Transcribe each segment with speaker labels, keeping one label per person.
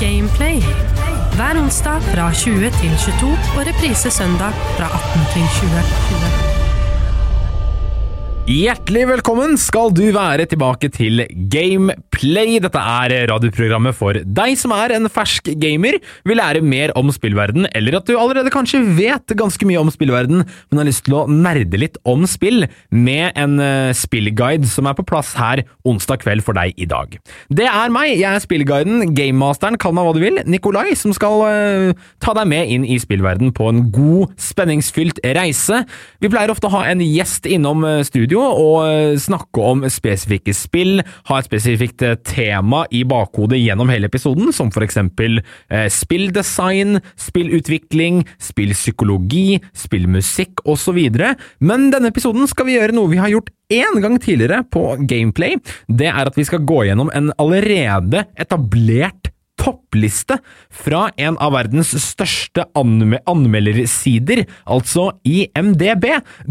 Speaker 1: Gameplay. Hver onsdag fra 20 til 22 og reprise søndag fra 18 til 20.
Speaker 2: Hjertelig velkommen skal du være tilbake til Gameplay. Dette er radioprogrammet for deg som er en fersk gamer, vil lære mer om spillverden, eller at du allerede kanskje vet ganske mye om spillverden, men har lyst til å nerde litt om spill med en eh, spillguide som er på plass her onsdag kveld for deg i dag. Det er meg, jeg er spillguiden, gamemasteren, kall meg hva du vil, Nikolai, som skal eh, ta deg med inn i spillverden på en god, spenningsfylt reise. Vi pleier ofte å ha en gjest innom eh, studio og eh, snakke om spesifikke spill, ha et spesifikt eh, tema i bakhodet gjennom hele episoden, som for eksempel eh, spilldesign, spillutvikling, spillpsykologi, spillmusikk osv. Men denne episoden skal vi gjøre noe vi har gjort én gang tidligere på Gameplay. Det er at vi skal gå gjennom en allerede etablert toppliste fra en av verdens største anme anmeldersider, altså IMDb.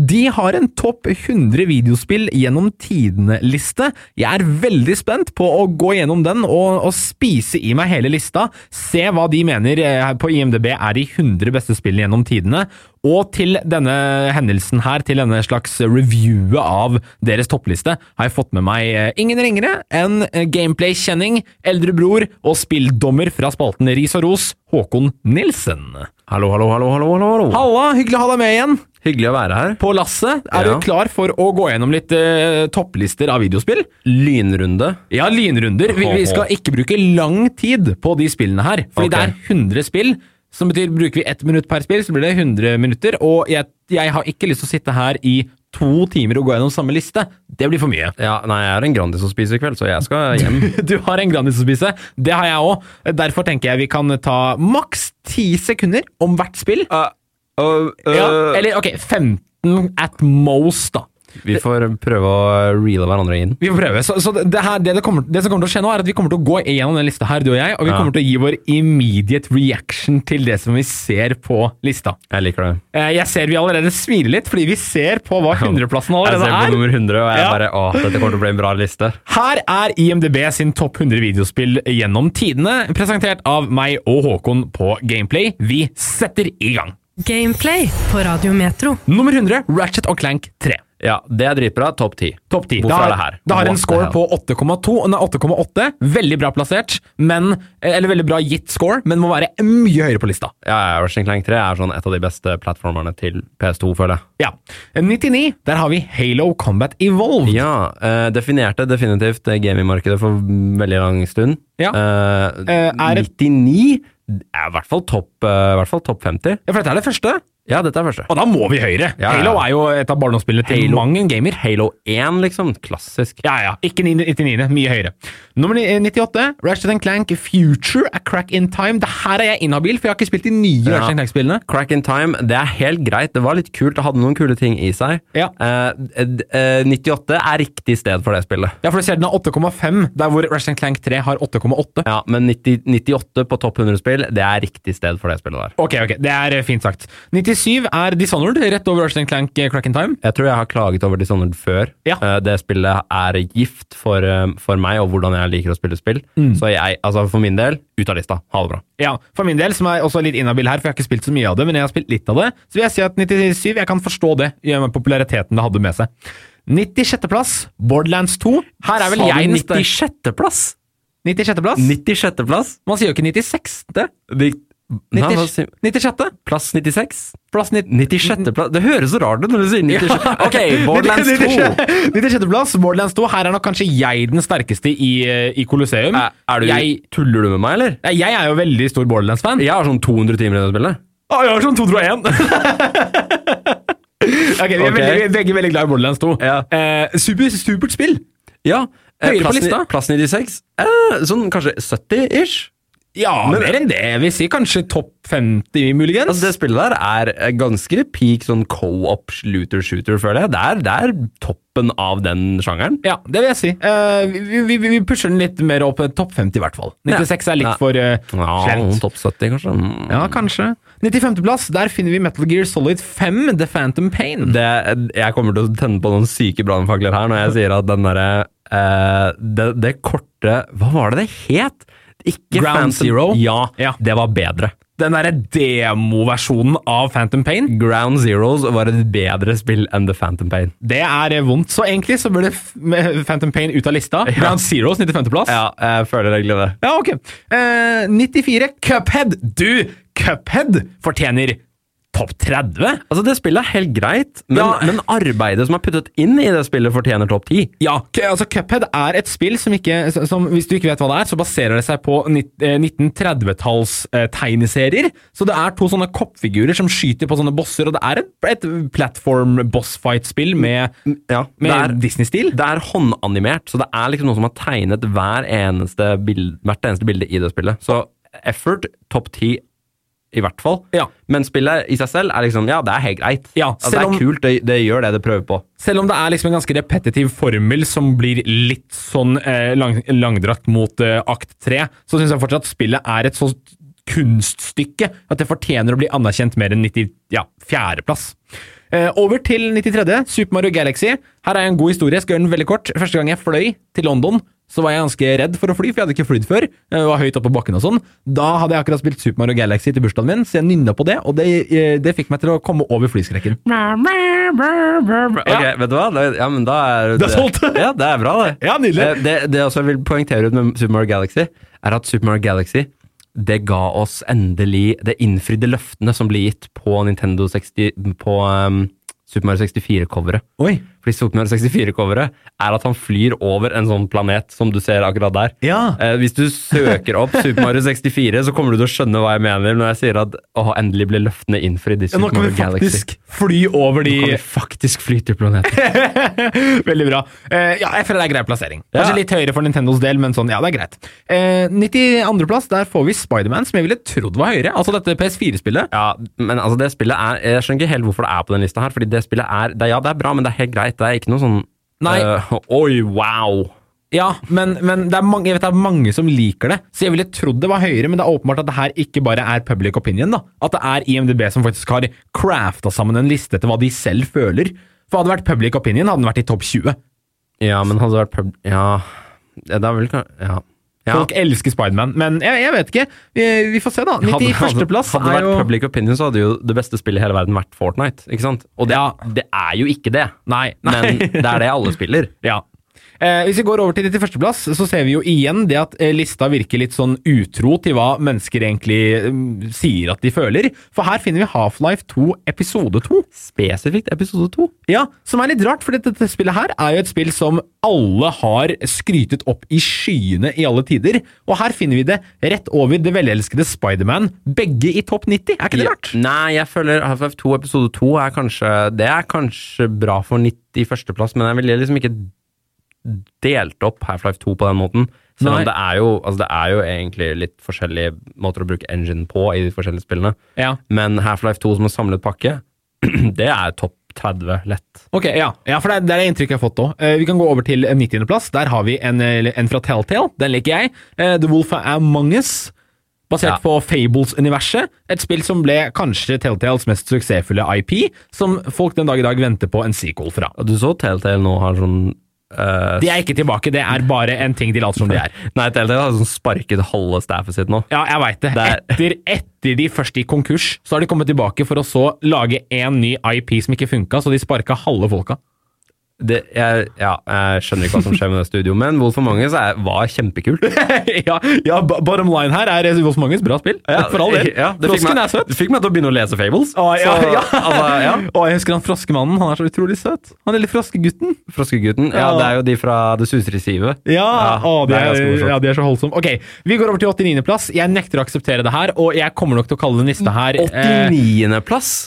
Speaker 2: De har en topp 100 videospill gjennom tidene-liste. Jeg er veldig spent på å gå gjennom den og, og spise i meg hele lista, se hva de mener eh, på IMDb er de 100 beste spillene gjennom tidene, og til denne hendelsen her, til denne slags reviewet av deres toppliste, har jeg fått med meg eh, ingen ringere enn eh, gameplay-kjenning, eldre bror og spilldommer fra spalten Ris og Ros, Håkon Nilsen.
Speaker 3: Hallo, hallo, hallo, hallo, hallo, hallo.
Speaker 2: Halla, hyggelig å ha deg med igjen
Speaker 3: Hyggelig å være her.
Speaker 2: på lasset. Er
Speaker 3: Ja.
Speaker 2: du klar for å gå gjennom litt eh, topplister av videospill?
Speaker 3: Lynrunde.
Speaker 2: Ja, lynrunder. Vi, vi skal ikke bruke lang tid på de spillene her, fordi
Speaker 3: Ok.
Speaker 2: det er 100 spill. Som betyr, bruker vi ett minutt per spill, så blir det 100 minutter. Og jeg, jeg har ikke lyst til å sitte her i to timer og gå gjennom samme liste. Det blir for mye.
Speaker 3: Ja, nei, jeg er en Grandis å spise i kveld, så jeg skal hjem.
Speaker 2: Du har en Grandis å spise. Det har jeg òg. Derfor tenker jeg vi kan ta maks ti sekunder om hvert spill.
Speaker 3: øh,
Speaker 2: Ja, eller ok, 15 at most, da.
Speaker 3: vi får prøve å reele hverandre inn.
Speaker 2: Vi får prøve. Så, så det, her, det, det, kommer, det som kommer til å skje nå, er at vi kommer til å gå gjennom den lista her, du og jeg, og vi
Speaker 3: Ja.
Speaker 2: kommer til å gi vår immediate reaction til det som vi ser på lista.
Speaker 3: Jeg liker det.
Speaker 2: Eh, Jeg ser vi allerede smiler litt, fordi vi ser på hva 100-plassen
Speaker 3: Jeg
Speaker 2: allerede
Speaker 3: ser på
Speaker 2: er.
Speaker 3: nummer 100, og jeg
Speaker 2: Ja.
Speaker 3: bare Å, dette kommer til å bli en bra liste.
Speaker 2: Her er IMDb sin topp 100 videospill gjennom tidene, presentert av meg og Håkon på Gameplay. Vi setter i gang.
Speaker 1: Gameplay på Radio Metro.
Speaker 2: Nummer 100, Ratchet og Clank 3.
Speaker 3: Ja, det er dritbra. Topp ti.
Speaker 2: Topp 10.
Speaker 3: Hvorfor
Speaker 2: har-
Speaker 3: er det her?
Speaker 2: Det har en
Speaker 3: What the
Speaker 2: score
Speaker 3: hell?
Speaker 2: på 8,2. Nei, 8,8. Veldig bra plassert, men, eller veldig bra gitt score, men må være mye høyere på lista.
Speaker 3: Ja, ja, Rushing Clank 3 er sånn et av de beste plattformerne til PS2, føler jeg.
Speaker 2: Ja. 99, der har vi Halo Combat Evolved.
Speaker 3: Ja, eh, definerte definitivt eh, gamingmarkedet for veldig lang stund.
Speaker 2: Ja.
Speaker 3: Eh,
Speaker 2: Eh, er det-
Speaker 3: 99 er i hvert fall topp, eh, i hvert fall topp 50.
Speaker 2: Ja, for dette er det første,
Speaker 3: Ja, dette er første.
Speaker 2: og da må vi høyere.
Speaker 3: Ja, ja.
Speaker 2: Halo er jo et av barndomsspillene til
Speaker 3: Halo.
Speaker 2: mange gamer. e-
Speaker 3: Halo 1, liksom. Klassisk.
Speaker 2: Ja, ja. Ikke 99, mye høyere. Nummer ni- eh, 98, Ratchet and Clank Future A Crack in Time. Det her er jeg inhabil, for jeg har ikke spilt de nye
Speaker 3: Ja.
Speaker 2: Ratchet and Clank-spillene.
Speaker 3: Crack in Time, det er helt greit. Det var litt kult, det hadde noen kule ting i seg.
Speaker 2: Ja.
Speaker 3: Eh, d- eh, 98 er riktig sted for det spillet.
Speaker 2: Ja, for du ser den har 8,5, der hvor Ratchet and Clank 3 har 8,8.
Speaker 3: Ja, Men 90, 98 på topp 100-spill, det er riktig sted for det spillet der.
Speaker 2: Ok, ok, det er eh, fint sagt. 97 er Dishonored, rett over Rushing Clank eh, Crack in Time.
Speaker 3: Jeg tror jeg har klaget over Dishonored før.
Speaker 2: Ja.
Speaker 3: Eh, det spillet er gift for, eh, for meg og hvordan jeg liker å spille spill.
Speaker 2: Mm.
Speaker 3: Så jeg, altså for min del, ut av lista. Ha det bra.
Speaker 2: Ja, For min del, som er også litt inhabil her, for jeg har ikke spilt så mye av det, men jeg har spilt litt av det, så vil jeg si at 97 Jeg kan forstå det, i og med populariteten det hadde med seg. 96. plass, Borderlands 2. Her er vel
Speaker 3: Sa
Speaker 2: jeg
Speaker 3: du
Speaker 2: den sterk-
Speaker 3: 96.-plass?
Speaker 2: 96. plass?
Speaker 3: 96. plass?
Speaker 2: Man sier jo ikke 96.
Speaker 3: Nei,
Speaker 2: 90,
Speaker 3: hva sier-
Speaker 2: 96.
Speaker 3: Plass 96?
Speaker 2: Plass 90,
Speaker 3: 96. plass? Det høres så rart ut når du sier 96. Ok, Borderlands 2.
Speaker 2: 96. plass, Borderlands 2. Her er nok kanskje jeg den sterkeste i, eh, i Colosseum.
Speaker 3: Er, er du,
Speaker 2: jeg,
Speaker 3: tuller du med meg, eller?
Speaker 2: Nei, jeg er jo veldig stor Borderlands-fan.
Speaker 3: Jeg har sånn 200 timer i det spillet.
Speaker 2: Å, jeg har sånn 201! ok, vi er
Speaker 3: Ok.
Speaker 2: veldig, vi er begge veldig glad i Borderlands 2.
Speaker 3: Ja.
Speaker 2: Eh, super, supert spill!
Speaker 3: Ja. Eh,
Speaker 2: Høyere på
Speaker 3: plass,
Speaker 2: lista.
Speaker 3: ni- plass 96? Eh, sånn kanskje 70-ish?
Speaker 2: Ja,
Speaker 3: Men-
Speaker 2: mer enn det. Jeg vil si kanskje topp 50, muligens.
Speaker 3: Altså, det spillet der er eh, ganske peak sånn co-op looter-shooter, føler jeg. Det er, det er toppen av den sjangeren.
Speaker 2: ja, det vil jeg si. Eh, vi, vi, vi pusher den litt mer opp eh, topp 50, i hvert fall. 96 er litt
Speaker 3: Ja.
Speaker 2: for eh, slemt.
Speaker 3: topp 70, kanskje. Mm.
Speaker 2: Ja, kanskje. 95.-plass, der finner vi Metal Gear Solid 5, The Phantom Pain.
Speaker 3: Det, jeg kommer til å tenne på noen syke brannfakler her når jeg sier at den derre eh, det, det korte Hva var det det het? Ikke
Speaker 2: Ground
Speaker 3: Phantom-
Speaker 2: Zero?
Speaker 3: Ja,
Speaker 2: Ja.
Speaker 3: det var bedre.
Speaker 2: Den derre demoversjonen av Phantom Pain,
Speaker 3: Ground Zeroes var et bedre spill enn The Phantom Pain.
Speaker 2: det er eh, vondt. Så egentlig så burde f- med Phantom Pain ut av lista. Ground Zeros 95.-plass.
Speaker 3: Ja, jeg føler egentlig det.
Speaker 2: Ja, ok. Eh, 94. Cuphead. Du, Cuphead fortjener topp 30.
Speaker 3: Altså, det spillet er helt greit, men,
Speaker 2: Ja.
Speaker 3: men arbeidet som er puttet inn i det spillet, fortjener topp ti.
Speaker 2: Ja, k- altså Cuphead er et spill som ikke som- som, Hvis du ikke vet hva det er, så baserer det seg på nitt- eh, 1930-talls eh, tegneserier. Så det er to sånne koppfigurer som skyter på sånne bosser, og det er et, et platform boss fight-spill med,
Speaker 3: Ja, Mm, det er,
Speaker 2: med Disney-stil.
Speaker 3: det er håndanimert, så det er liksom noen som har tegnet hver eneste bild, hvert eneste bilde i det spillet. Så effort, topp ti i hvert fall.
Speaker 2: Ja.
Speaker 3: Men spillet i seg selv er liksom Ja, det er helt greit.
Speaker 2: Ja,
Speaker 3: altså, det
Speaker 2: selv
Speaker 3: er
Speaker 2: om-
Speaker 3: kult, det, det gjør det det prøver på.
Speaker 2: Selv om det er liksom en ganske repetitiv formel som blir litt sånn eh, lang, langdratt mot eh, akt 3, så syns jeg fortsatt spillet er et sånt kunststykke at det fortjener å bli anerkjent mer enn 94. Ja, fjerdeplass. Eh, over til 93. Super Mario Galaxy. Her er en god historie. Jeg skal gjøre den veldig kort. Første gang jeg fløy til London, så var jeg ganske redd for å fly, for jeg hadde ikke flydd før. Jeg var høyt oppe på bakken og sånn. Da hadde jeg akkurat spilt Super Mario Galaxy til bursdagen min, så jeg nynna på det, og det, eh, det fikk meg til å komme over flyskrekken.
Speaker 3: Ok, vet du hva? Da, ja, men da er
Speaker 2: Det er solgt.
Speaker 3: Ja, det er bra, det.
Speaker 2: Ja, nydelig.
Speaker 3: Eh, Det, det jeg også vil poengtere ut med Super Mario Galaxy, er at Super Mario Galaxy det ga oss endelig Det innfridde løftene som ble gitt på Nintendo 60 På ehm, Super Mario 64-coveret.
Speaker 2: Oi.
Speaker 3: Fordi Super Mario 64-coveret er at han flyr over en sånn planet som du ser akkurat der.
Speaker 2: Ja.
Speaker 3: Eh, hvis du søker opp Super Mario 64, så kommer du til å skjønne hva jeg mener når jeg sier at åh, endelig ble løftene innfridd i
Speaker 2: Ja,
Speaker 3: Super
Speaker 2: nå kan
Speaker 3: Mario
Speaker 2: vi
Speaker 3: Galaxy.
Speaker 2: faktisk fly over
Speaker 3: Nå kan
Speaker 2: de
Speaker 3: vi faktisk fly til planeten.
Speaker 2: Veldig bra. Eh, ja, jeg føler det er grei plassering. Kanskje
Speaker 3: Ja.
Speaker 2: litt høyere for Nintendos del, men sånn, ja, det er greit. Eh, 92.-plass, der får vi Spiderman, som jeg ville trodd var høyere. Altså dette PS4-spillet.
Speaker 3: Ja, men altså det spillet er, Jeg skjønner ikke helt hvorfor det er på den lista her. Fordi det spillet er det, Ja, det er bra, men det er helt greit. Det er ikke noe sånn
Speaker 2: Nei.
Speaker 3: øh, Oi, wow!
Speaker 2: Ja, men, men det, er mange, jeg vet, det er mange som liker det, så jeg ville trodd det var høyere, men det er åpenbart at det her ikke bare er public opinion, da. At det er IMDb som faktisk har crafta sammen en liste til hva de selv føler. For hadde det vært public opinion, hadde den vært i topp 20.
Speaker 3: Ja, men hadde det vært pub... Ja. ja Det er vel kan- Ja. ja.
Speaker 2: Folk elsker Spiderman, men jeg, jeg vet ikke. Vi, vi får se, da.
Speaker 3: Hadde-
Speaker 2: 91.-plass
Speaker 3: hadde, hadde
Speaker 2: er
Speaker 3: det vært
Speaker 2: jo
Speaker 3: public opinion, så hadde jo det beste spillet i hele verden vært Fortnite. Ikke sant? Og det,
Speaker 2: Ja.
Speaker 3: det er jo ikke det.
Speaker 2: Nei, nei.
Speaker 3: Men det er det alle spiller.
Speaker 2: Ja. Eh, hvis vi går over til 91.-plass, så ser vi jo igjen det at eh, lista virker litt sånn utro til hva mennesker egentlig mm, sier at de føler. For her finner vi Half-Life 2 episode 2.
Speaker 3: Spesifikt episode to.
Speaker 2: Ja, som er litt rart, for dette, dette spillet her er jo et spill som alle har skrytet opp i skyene i alle tider. Og her finner vi det rett over det velelskede Spiderman, begge i topp 90. Er ikke det
Speaker 3: Ja.
Speaker 2: rart?
Speaker 3: Nei, jeg føler Half-Life 2 episode 2 er kanskje Det er kanskje bra for 91.-plass, men jeg ville liksom ikke delt opp Half-Life 2 på den måten. Selv
Speaker 2: Nei.
Speaker 3: om det er, jo, altså det er jo egentlig litt forskjellige måter å bruke engine på i de forskjellige spillene.
Speaker 2: Ja.
Speaker 3: Men Half-Life 2 som en samlet pakke, det er topp 30 lett.
Speaker 2: Ok, ja. ja for det er, det er inntrykk jeg har fått òg. vi kan gå over til 90.-plass. Der har vi en, eh, en fra Telltale. Den liker jeg. Eh, The Wolf Among Us. Basert
Speaker 3: Ja.
Speaker 2: på Fables-universet. Et spill som ble kanskje Telltales mest suksessfulle IP, som folk den dag i dag venter på en sequel fra.
Speaker 3: Og Du så Telltale nå har sånn eh,
Speaker 2: De er ikke tilbake, det er bare en ting de later som de er.
Speaker 3: Nei, Telltale har sånn sparket halve staffet sitt nå.
Speaker 2: Ja, jeg veit det. Etter, etter de først gikk konkurs, så har de kommet tilbake for å så lage én ny IP som ikke funka, så de sparka halve folka.
Speaker 3: Det, jeg, ja, jeg skjønner ikke hva som skjer med det studioet, men Wolf Among Us er, var kjempekult.
Speaker 2: ja, ja, b- bottom line her er Wolf Manges bra spill. for all del.
Speaker 3: Ja, det, fikk
Speaker 2: Frosken
Speaker 3: meg,
Speaker 2: er søt.
Speaker 3: det fikk meg til å begynne å lese Fables.
Speaker 2: Å, ja,
Speaker 3: så,
Speaker 2: ja.
Speaker 3: altså, ja.
Speaker 2: Å, jeg husker han froskemannen. Han er så utrolig søt. Han lille froskegutten.
Speaker 3: Froskegutten. Ja,
Speaker 2: Ja.
Speaker 3: det er jo de fra Det susere sivet.
Speaker 2: Ja, å, det,
Speaker 3: det er
Speaker 2: er,
Speaker 3: ganske morsomt.
Speaker 2: ja, det er så holdsomt. Ok, vi går over til 89.-plass. Jeg nekter å akseptere det her, og jeg kommer nok til å kalle den lista her eh,
Speaker 3: 89. plass?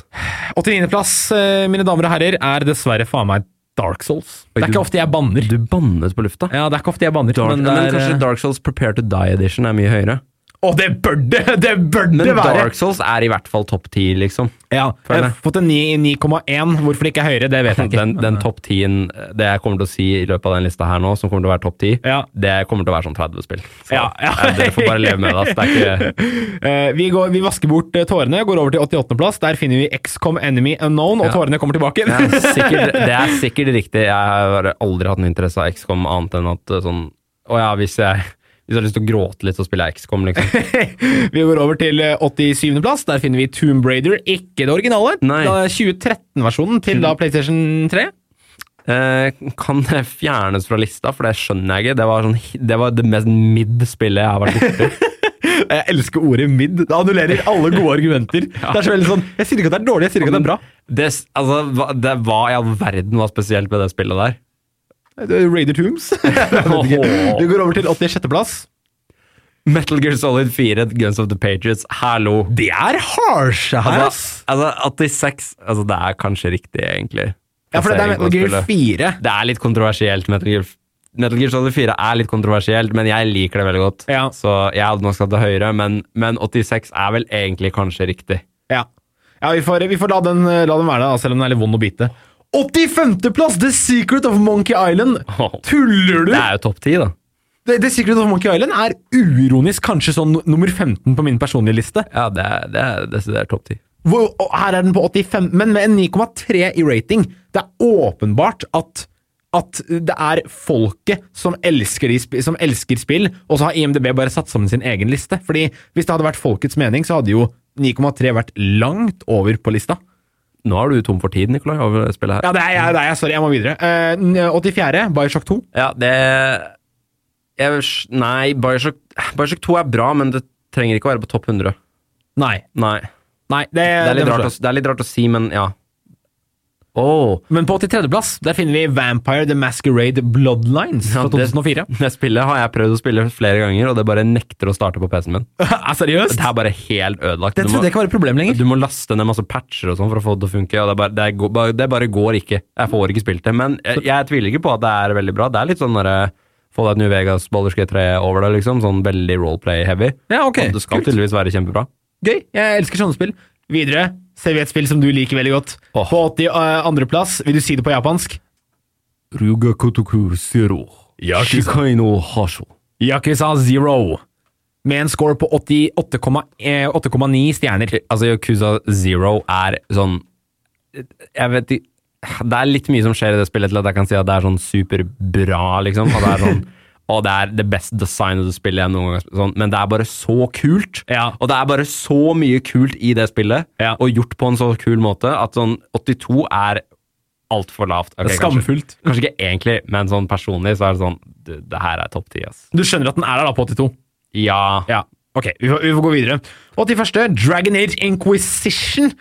Speaker 2: 89.-plass, eh, mine damer og herrer, er dessverre faen meg Dark Souls. Det er
Speaker 3: du-
Speaker 2: ikke ofte jeg banner.
Speaker 3: Du bannet på lufta.
Speaker 2: Ja, det er ikke ofte jeg banner.
Speaker 3: Dark, men,
Speaker 2: men det er,
Speaker 3: kanskje
Speaker 2: eh,
Speaker 3: Dark Souls Prepare to Die Edition er mye høyere.
Speaker 2: Å, det bør det! Det bør
Speaker 3: Men
Speaker 2: det være!
Speaker 3: Dark Souls er i hvert fall topp 10, liksom.
Speaker 2: Ja, jeg har fått en 9 i 9,1. Hvorfor det ikke er høyere, det vet jeg ikke.
Speaker 3: Den, den topp 10-en, det jeg kommer til å si i løpet av den lista her nå, som kommer til å være topp 10,
Speaker 2: Ja.
Speaker 3: det kommer til å være sånn 30 spill. Så
Speaker 2: Ja, ja.
Speaker 3: eh, dere får bare leve med det. ass. Det er ikke
Speaker 2: Eh, vi, går, vi vasker bort eh, tårene, går over til 88.-plass. Der finner vi XCOM Enemy Unknown, og
Speaker 3: Ja.
Speaker 2: tårene kommer tilbake.
Speaker 3: Det er sikkert, det er sikkert riktig. Jeg har aldri hatt noe interesse av XCOM annet enn at eh, sånn Å ja, hvis jeg Hvis jeg har lyst til å gråte litt, så spiller jeg XCOM, liksom.
Speaker 2: Vi går over til eh, 87. plass. Der finner vi Tomb Raider, ikke det originale.
Speaker 3: Nei.
Speaker 2: Da 2013-versjonen til da PlayStation 3.
Speaker 3: Eh, kan det fjernes fra lista, for det skjønner jeg ikke. Det var, sånn, hi- det, var det mest midd-spillet jeg har vært borti.
Speaker 2: Jeg elsker ordet midd. Det annullerer alle gode argumenter. Det er så veldig sånn, Jeg sier ikke at det er dårlig, jeg sier ikke at det er bra.
Speaker 3: Det, s- altså, hva, det, hva i all verden var spesielt med det spillet der?
Speaker 2: Raider Tombs. Jeg vet ikke.
Speaker 3: Åhå.
Speaker 2: Vi går over til 86. plass.
Speaker 3: Metal Gear Solid 4, Guns of the Patriots, hallo!
Speaker 2: Det er harsh her, ass!
Speaker 3: Altså, altså, 86 altså, Det er kanskje riktig, egentlig. Altså,
Speaker 2: Ja, for det er
Speaker 3: Plassering på
Speaker 2: Metal Gear
Speaker 3: spillet.
Speaker 2: 4.
Speaker 3: Det er litt kontroversielt. Metal Gear, Metal Gear Solid 4 er litt kontroversielt, men jeg liker det veldig godt.
Speaker 2: Ja.
Speaker 3: Så jeg hadde nok skatt det høyere, men, men 86 er vel egentlig kanskje riktig.
Speaker 2: Ja, ja vi, får, vi får la den, eh, la den være det, da, selv om den er litt vond å bite. 85. plass! The Secret of Monkey Island!
Speaker 3: Åh.
Speaker 2: Tuller du?!
Speaker 3: Det er jo topp 10, da.
Speaker 2: The, The Secret of Monkey Island er uironisk kanskje sånn nu- nummer 15 på min personlige liste.
Speaker 3: Ja, det er, det er desidert topp 10.
Speaker 2: Hvor, og her er den på 85, men med en 9,3 i rating. Det er åpenbart at, at det er folket som elsker, de, sp- som elsker spill, og så har IMDb bare satt sammen sin egen liste. Fordi hvis det hadde vært folkets mening, så hadde jo 9,3 vært langt over på lista.
Speaker 3: Nå er du tom for tid, Nikolai, over det spillet her.
Speaker 2: Ja, det er jeg. Det er jeg sorry, jeg må videre. Eh, n- 84. Bioshock 2.
Speaker 3: Ja, det jeg, Nei, Bioshock, Bioshock 2 er bra, men det trenger ikke å være på topp 100.
Speaker 2: Nei.
Speaker 3: Nei.
Speaker 2: Nei, det,
Speaker 3: Eh, Det er litt,
Speaker 2: det
Speaker 3: rart å,
Speaker 2: forstår jeg.
Speaker 3: det er litt rart å si, men ja. Åh
Speaker 2: Men på 83.-plass der finner vi Vampire The Masquerade Bloodlines fra
Speaker 3: Ja, det-
Speaker 2: 2004.
Speaker 3: Det spillet har jeg prøvd å spille flere ganger, og det bare nekter å starte på PC-en min.
Speaker 2: er seriøst?
Speaker 3: Det er bare helt ødelagt.
Speaker 2: Det
Speaker 3: Du må,
Speaker 2: trodde jeg ikke var et problem lenger.
Speaker 3: du må laste ned masse patcher og sånn for å få det til å funke, og det, er bare, det, er go- bare, det bare går ikke. Jeg får ikke spilt det, men jeg, jeg tviler ikke på at det er veldig bra. Det er litt sånn derre få deg et New Vegas Baldur's Gate 3 over det, liksom. Sånn veldig roleplay-heavy.
Speaker 2: Ja, ok.
Speaker 3: Og Det skal
Speaker 2: Kult.
Speaker 3: tydeligvis være kjempebra.
Speaker 2: Gøy. Jeg elsker sånne spill. Videre ser vi et spill som du liker veldig godt.
Speaker 3: Åh.
Speaker 2: På 82.-plass, vil du si det på japansk?
Speaker 3: Ruga Kotoku Zero. Shikaino Hasho.
Speaker 2: Yakuza Zero. Med en score på 88,9 eh, 8,9 stjerner.
Speaker 3: Altså, Yakuza Zero er sånn Jeg vet ikke Det er litt mye som skjer i det spillet til at jeg kan si at det er sånn superbra, liksom. Og det er sånn Og det er det best designede spillet jeg noen gang har spilt. Sånn. Men det er bare så kult.
Speaker 2: Ja.
Speaker 3: Og det er bare så mye kult i det spillet,
Speaker 2: Ja.
Speaker 3: og gjort på en så kul måte, at sånn 82 er altfor lavt. Ok,
Speaker 2: Det er skamfullt.
Speaker 3: Kanskje, kanskje ikke egentlig, men sånn personlig så er det sånn du, Det her er topp ti, ass.
Speaker 2: Du skjønner at den er der da på 82?
Speaker 3: Ja.
Speaker 2: Ja, ok, vi får, vi får gå videre. Og til første, Dragon Age Inquisition.